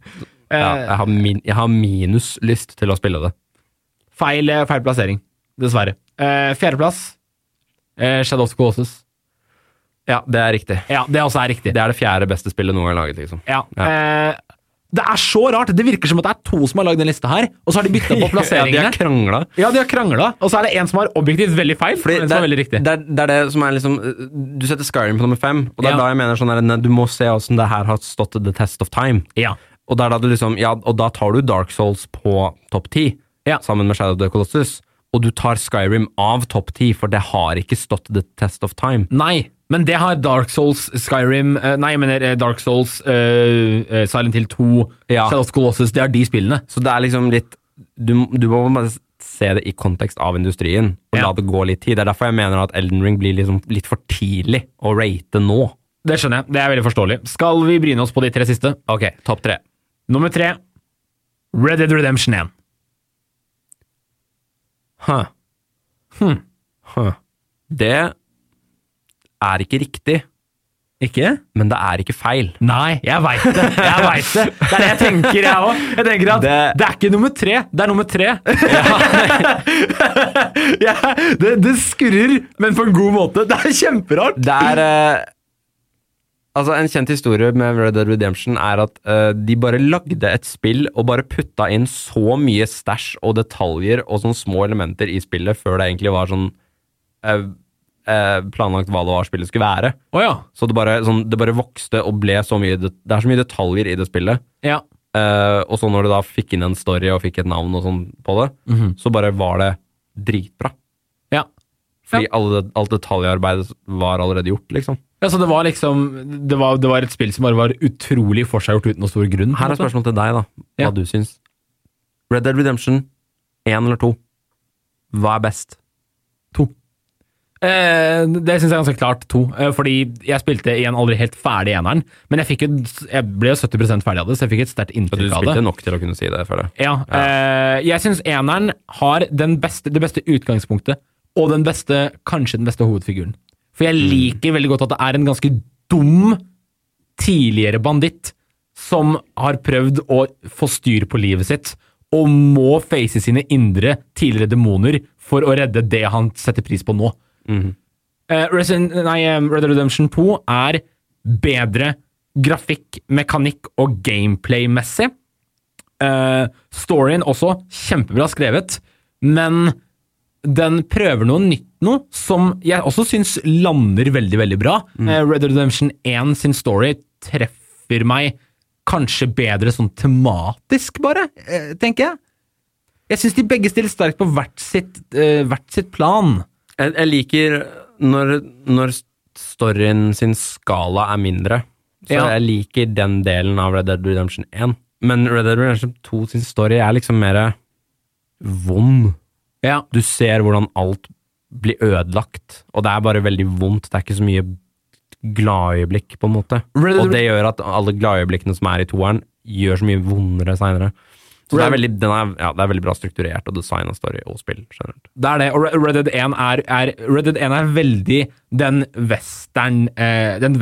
Speaker 3: Ja, jeg, har min, jeg har minus lyst til å spille det.
Speaker 2: feil, eh, feil plassering, dessverre. Eh, Fjerdeplass, eh, Shadow of the Colossus.
Speaker 3: Ja, det er riktig.
Speaker 2: Ja, det også er riktig.
Speaker 3: Det er det fjerde beste spillet noen gang laget, liksom.
Speaker 2: Ja. Eh, det er så rart! Det virker som at det er to som har lagd den lista her, og så har de bytta på
Speaker 3: Ja, de
Speaker 2: plasseringene.
Speaker 3: har krangla.
Speaker 2: Ja, de har krangla, og så er det en som har objektivt veldig feil.
Speaker 3: Fordi
Speaker 2: og en
Speaker 3: det,
Speaker 2: som er
Speaker 3: er,
Speaker 2: veldig riktig.
Speaker 3: det, er, det er det som er liksom øh, Du setter Skyrim på nummer fem, og det er
Speaker 2: Ja.
Speaker 3: da jeg mener sånn her, ne, du må se åssen det her har stått the test of time.
Speaker 2: Ja.
Speaker 3: Og, det er da du liksom, ja, og da tar du Dark Souls på topp ti,
Speaker 2: Ja.
Speaker 3: sammen med Shadow of the Colossus. Og du tar Skyrim av topp ti, for det har ikke stått the test of time.
Speaker 2: Nei, Men det har Dark Souls, Skyrim eh, Nei, jeg mener eh, Dark Souls, eh, eh, Silent Hill 2,
Speaker 3: Ja.
Speaker 2: Shadow of the Colossus, det er de spillene.
Speaker 3: Så det er liksom litt Du, du må bare se det i kontekst av industrien, og
Speaker 2: Ja.
Speaker 3: la det gå litt tid. Det er derfor jeg mener at Elden Ring blir liksom litt for tidlig å rate nå.
Speaker 2: Det skjønner jeg. Det er veldig forståelig. Skal vi bryne oss på de tre siste?
Speaker 3: Ok, topp tre.
Speaker 2: Nummer tre Red Dead Redemption 1.
Speaker 3: Huh. Huh. Hm. Det er ikke riktig,
Speaker 2: Ikke?
Speaker 3: men det er ikke feil.
Speaker 2: Nei, jeg veit det. Jeg vet det. Det er det jeg tenker, jeg òg. Jeg tenker at det...
Speaker 3: Det-
Speaker 2: er ikke nummer tre, det er nummer tre. Ja, det, det skurrer, men på en god måte. Det er kjemperart.
Speaker 3: Det er eh, Altså, en kjent historie med Red Dead Redemption er at eh, de bare lagde et spill og bare putta inn så mye stæsj og detaljer og sånne små elementer i spillet før det egentlig var sånn eh, eh, planlagt hva det var spillet skulle være.
Speaker 2: Å ja.
Speaker 3: Så det bare, sånn, det bare vokste og ble så mye det, det er så mye detaljer i det spillet.
Speaker 2: ja.
Speaker 3: Eh, og så når du da fikk inn en story og fikk et navn og sånn på det, så bare var det dritbra.
Speaker 2: Ja.
Speaker 3: Fordi alle, alt detaljarbeidet var allerede gjort, liksom.
Speaker 2: Ja, så det var liksom det var, det var et spill som bare var utrolig forseggjort uten noen stor grunn. på en
Speaker 3: Her er
Speaker 2: måte.
Speaker 3: spørsmålet til deg, da. Hva
Speaker 2: Ja.
Speaker 3: du syns. Red Dead Redemption, én eller to? Hva er best?
Speaker 2: To. Eh, det syns jeg er ganske klart to. Eh, fordi jeg spilte igjen aldri helt ferdig eneren. Men jeg, fikk jo, jeg ble jo 70 ferdig av det, så jeg fikk et sterkt
Speaker 3: Du
Speaker 2: inntrykk av
Speaker 3: spilte
Speaker 2: det.
Speaker 3: nok til å kunne si det, føler jeg.
Speaker 2: Ja, eh, jeg syns eneren har den beste, det beste utgangspunktet, og den beste, kanskje den beste hovedfiguren. For jeg liker veldig godt at det er en ganske dum tidligere banditt som har prøvd å få styr på livet sitt, og må face sine indre tidligere demoner for å redde det han setter pris på nå. Eh, Resident, nei, eh, Red Dead Redemption 2 er bedre grafikk, mekanikk og gameplay-messig. Eh, storyen også kjempebra skrevet, men den prøver noe nytt nå, som jeg også syns lander veldig, veldig bra. Eh, Red Dead Redemption 1 sin story treffer meg kanskje bedre sånn tematisk, bare, eh, tenker jeg. Jeg syns de begge stiller sterkt på hvert sitt, eh, hvert sitt plan.
Speaker 3: Jeg, jeg liker når, når storyen sin skala er mindre. Så
Speaker 2: Ja.
Speaker 3: jeg liker den delen av Red Dead Redemption 1. Men Red Dead Redemption 2 sin story er liksom mer vond.
Speaker 2: Ja.
Speaker 3: Du ser hvordan alt blir ødelagt, og det er bare veldig vondt. Det er ikke så mye gladøyeblikk, på en måte.
Speaker 2: Red Dead-
Speaker 3: Og det gjør at alle gladøyeblikkene som er i toeren, gjør så mye vondere seinere. Så det er, veldig, den er, ja, det er veldig bra strukturert og design av story og spill generelt.
Speaker 2: Det er det, og Re- Red Dead 1 er, er, Red Dead 1 er veldig den western eh, Den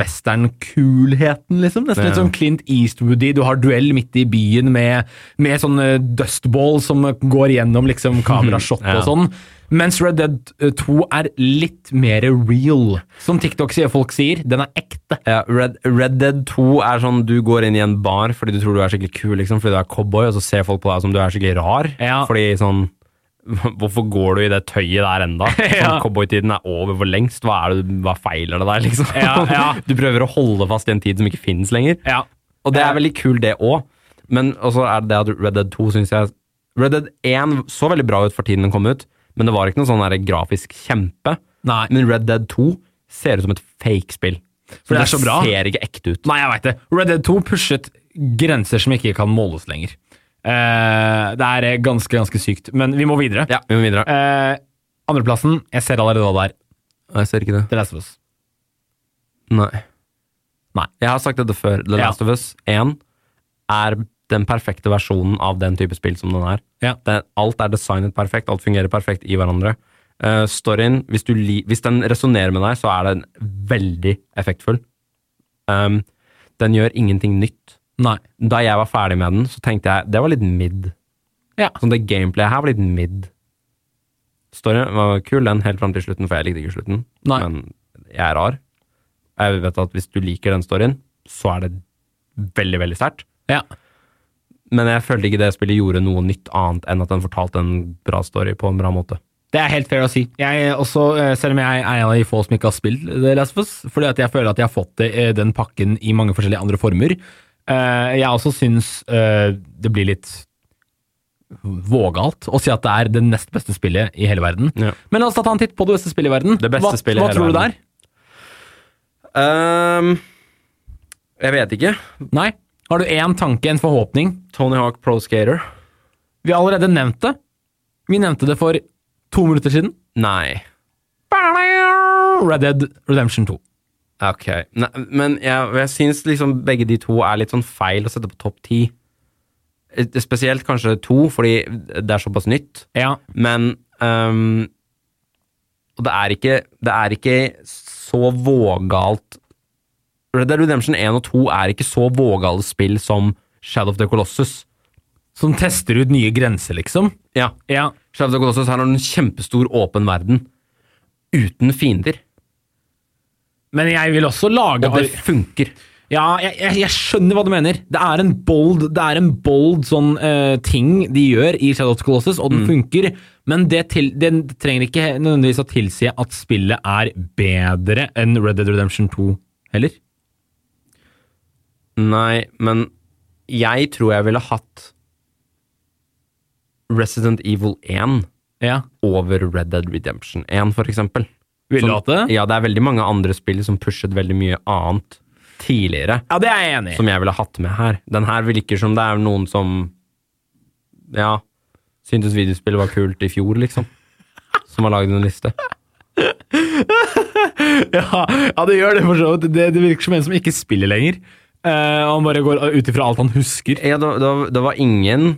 Speaker 2: western-kulheten, liksom. Nesten litt
Speaker 3: Ja.
Speaker 2: sånn Clint Eastwoody. Du har duell midt i byen med, med sånn eh, dustball som går gjennom liksom, kamerashot
Speaker 3: Ja.
Speaker 2: og sånn. Mens Red Dead 2 er litt mer real. Som TikTok sier folk sier, den er ekte.
Speaker 3: Ja, Red, Red Dead 2 er sånn du går inn i en bar fordi du tror du er skikkelig kul, liksom, fordi du er cowboy, og så ser folk på deg som du er skikkelig rar.
Speaker 2: Ja.
Speaker 3: Fordi sånn Hvorfor går du i det tøyet der enda? Sånn,
Speaker 2: Ja.
Speaker 3: Cowboytiden er over for lengst. Hva, er det, hva feiler det der, liksom?
Speaker 2: Ja, ja.
Speaker 3: Du prøver å holde fast i en tid som ikke finnes lenger.
Speaker 2: Ja. Eh.
Speaker 3: Og det er veldig kul, det òg. Men også er det det at Red Dead 2 syns jeg Red Dead 1 så veldig bra ut for tiden den kom ut, men det var ikke noen sånn der grafisk kjempe.
Speaker 2: Nei.
Speaker 3: Men Red Dead 2 ser ut som et fake spill.
Speaker 2: For det er så bra.
Speaker 3: ser ikke ekte ut.
Speaker 2: Nei, jeg veit det. Red Dead 2 pushet grenser som ikke kan måles lenger. Eh, det er eh, ganske, ganske sykt. Men vi må videre.
Speaker 3: Ja, vi må videre.
Speaker 2: Eh, andreplassen, jeg ser allerede hva det er.
Speaker 3: Jeg ser ikke det.
Speaker 2: The Last of Us.
Speaker 3: Nei.
Speaker 2: Nei.
Speaker 3: Jeg har sagt dette før. The
Speaker 2: Ja.
Speaker 3: Last of Us 1 er den perfekte versjonen av den type spill som den er.
Speaker 2: Ja.
Speaker 3: Det, alt er designet perfekt, alt fungerer perfekt i hverandre. Eh, storyen, hvis, du li, hvis den resonnerer med deg, så er den veldig effektfull. Um, den gjør ingenting nytt.
Speaker 2: Nei.
Speaker 3: Da jeg var ferdig med den, så tenkte jeg det var litt mid.
Speaker 2: Ja.
Speaker 3: Sånn det gameplayet her var litt mid. Storyen var kul, den helt fram til slutten, for jeg likte ikke slutten.
Speaker 2: Nei.
Speaker 3: Men jeg er rar. Jeg vet at hvis du liker den storyen, så er det veldig, veldig sterkt.
Speaker 2: Ja.
Speaker 3: Men jeg følte ikke det spillet gjorde noe nytt annet enn at den fortalte en bra story på en bra måte.
Speaker 2: Det er helt fair å si. Jeg er også, eh, selv om jeg er en av de få som ikke har spilt The Last of Us, fordi at jeg føler at jeg har fått det, eh, den pakken i mange forskjellige andre former. Eh, Jeg også syns eh, det blir litt vågalt å si at det er det nest beste spillet i hele verden.
Speaker 3: Ja.
Speaker 2: Men la oss da ta en titt på det beste spillet i verden.
Speaker 3: Det beste
Speaker 2: hva,
Speaker 3: spillet i
Speaker 2: hva
Speaker 3: hele
Speaker 2: tror du det
Speaker 3: verden.
Speaker 2: er?
Speaker 3: Ehm, jeg vet ikke.
Speaker 2: Nei. Har du én tanke, en forhåpning?
Speaker 3: Tony Hawk Pro Skater?
Speaker 2: Vi har allerede nevnt det. Vi nevnte det for to minutter siden.
Speaker 3: Nei.
Speaker 2: Red Dead Redemption 2.
Speaker 3: Ok. Nei, men jeg, jeg syns liksom begge de to er litt sånn feil å sette på topp ti. Eh, Spesielt kanskje to, fordi det er såpass nytt.
Speaker 2: Ja.
Speaker 3: Men ehm, Og det er ikke, det er ikke så vågalt Red Dead Redemption 1 og 2 er ikke så vågale spill som Shadow of the Colossus.
Speaker 2: Som tester ut nye grenser, liksom.
Speaker 3: Ja,
Speaker 2: Ja.
Speaker 3: Shadow of the Colossus her har du en kjempestor åpen verden uten fiender.
Speaker 2: Men jeg vil også lage
Speaker 3: Og det funker.
Speaker 2: Ja, jeg, jeg, jeg skjønner hva du mener. Det er en bold, det er en bold sånn eh, ting de gjør i Shadow of the Colossus, og den funker. Men det, til, den trenger ikke nødvendigvis å tilsi at spillet er bedre enn Red Dead Redemption 2 heller.
Speaker 3: Nei, men jeg tror jeg ville hatt Resident Evil 1
Speaker 2: Ja.
Speaker 3: over Red Dead Redemption 1, for eksempel.
Speaker 2: Ville du
Speaker 3: Som-
Speaker 2: hatt det?
Speaker 3: Ja, det er veldig mange andre spill som pushet veldig mye annet tidligere,
Speaker 2: ja, det er jeg enig i.
Speaker 3: som jeg ville hatt med her. Den her virker som det er noen som Ja, syntes videospill var kult i fjor, liksom. Som har lagd en liste.
Speaker 2: Ja, ja, det gjør det for så vidt. Det, det virker som en som ikke spiller lenger. Eh, han bare går ut ifra alt han husker.
Speaker 3: Ja, det, det, det var ingen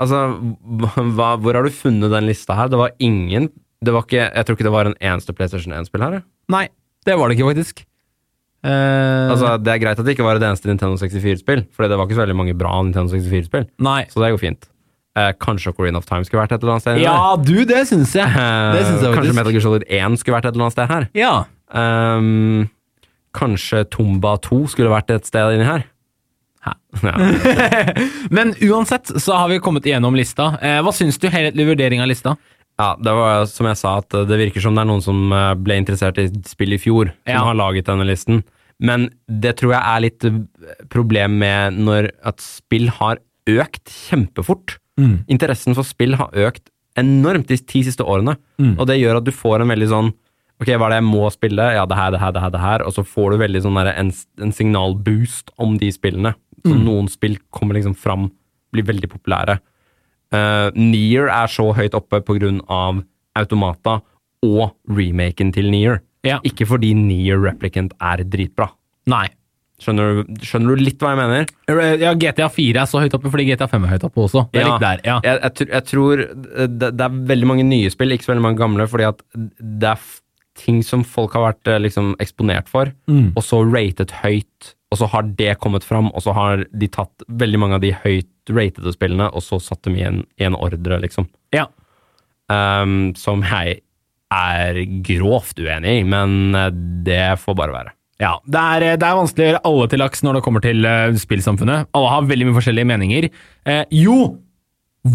Speaker 3: Altså, hva, hvor har du funnet den lista her? Det var ingen det var ikke, Jeg tror ikke det var en eneste PlayStation 1-spill her. jeg.
Speaker 2: Nei, det var det ikke, faktisk. Eh,
Speaker 3: Altså, Det er greit at det ikke var et eneste Nintendo 64-spill, for det var ikke så veldig mange bra Nintendo 64-spill.
Speaker 2: nei.
Speaker 3: Så det går fint. Eh, kanskje Ocarina of Time skulle vært et eller annet sted?
Speaker 2: Ja, du, det syns jeg.
Speaker 3: eller?
Speaker 2: Det syns
Speaker 3: Eh,
Speaker 2: jeg
Speaker 3: kanskje
Speaker 2: faktisk.
Speaker 3: Metal Gear Solid 1 skulle vært et eller annet sted her?
Speaker 2: Ja.
Speaker 3: Ehm, kanskje Tomba 2 skulle vært et sted inni her?
Speaker 2: Hæ?
Speaker 3: Ja.
Speaker 2: Men uansett så har vi kommet igjennom lista. Eh, hva syns du helhetlig vurdering av lista?
Speaker 3: Ja, det var som jeg sa, at det virker som det er noen som eh, ble interessert i spill i fjor, som
Speaker 2: Ja.
Speaker 3: har laget denne listen. Men det tror jeg er litt eh, problem med når at spill har økt kjempefort. Interessen for spill har økt enormt de ti siste årene, og det gjør at du får en veldig sånn Ok, hva er det jeg må spille? Ja, det her, det her, det her, det her. Og så får du veldig sånn derre en, en signalboost om de spillene. Så noen spill kommer liksom fram, blir veldig populære. Uh, Nier er så høyt oppe pga. Automata og remaken til Nier.
Speaker 2: Ja.
Speaker 3: Ikke fordi Nier Replicant er dritbra.
Speaker 2: Nei.
Speaker 3: Skjønner du, skjønner du litt hva jeg mener?
Speaker 2: Eh, Ja, GTA 4 er så høyt oppe fordi GTA 5 er høyt oppe også. Det er litt der, ja.
Speaker 3: Jeg, jeg, tr- jeg tror eh, det, det er veldig mange nye spill, ikke så veldig mange gamle, fordi at det er f- ting som folk har vært eh, liksom, eksponert for,
Speaker 2: Mm.
Speaker 3: og så ratet høyt, og så har det kommet fram, og så har de tatt veldig mange av de høyt ratede spillene, og så satt dem i en, i en ordre, liksom.
Speaker 2: ja.
Speaker 3: Ehm, som jeg er grovt uenig i, men eh, det får bare være.
Speaker 2: Ja, det er, eh, det er vanskelig å gjøre alle til laks når det kommer til eh, spillsamfunnet. Alle har veldig mye forskjellige meninger. Eh, jo!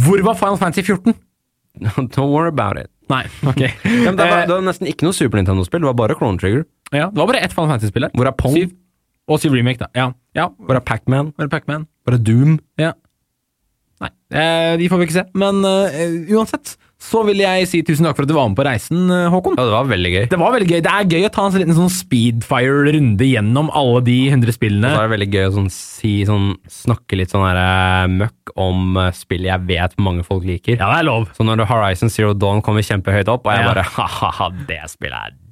Speaker 2: Hvor var Final Fantasy 14?
Speaker 3: Don't worry about it.
Speaker 2: Nei, ok.
Speaker 3: Ja, men det, var,
Speaker 2: Eh,
Speaker 3: det var nesten ikke noe Super Nintendo-spill, det var bare Clone Trigger.
Speaker 2: ja, det var bare ett Final Fantasy-spill her.
Speaker 3: Hvor er Pong?
Speaker 2: Syv. Og syv remake, da. Ja. ja.
Speaker 3: Hvor er Pac-Man?
Speaker 2: Bare Pac-Man.
Speaker 3: Hvor er Doom?
Speaker 2: Ja. Nei, eh, de får vi ikke se. Men eh, uansett, så vil jeg si tusen takk for at du var med på reisen, eh, Håkon.
Speaker 3: Ja, det var veldig gøy.
Speaker 2: Det var veldig gøy. Det er gøy å ta en sånn liten sånn speedfire-runde gjennom alle de 100
Speaker 3: Og
Speaker 2: spillene.
Speaker 3: så er det veldig gøy å sånn, si, sånn, snakke litt sånn her, eh, møkk om eh, spill jeg vet mange folk liker.
Speaker 2: Ja, det er lov.
Speaker 3: Så når Horizon Zero Dawn kommer kjempehøyt opp, og jeg
Speaker 2: Ja.
Speaker 3: bare ha-ha-ha, det spillet er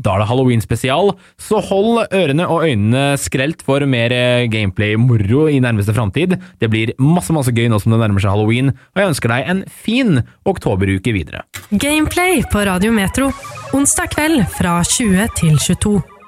Speaker 2: da er det Halloween-spesial. Så hold ørene og øynene skrelt for mer eh, gameplay-moro i nærmeste framtid. Det blir masse, masse gøy nå som det nærmer seg halloween, og jeg ønsker deg en fin oktoberuke videre.
Speaker 1: Gameplay på Radio Metro. Onsdag kveld fra 20 til 22.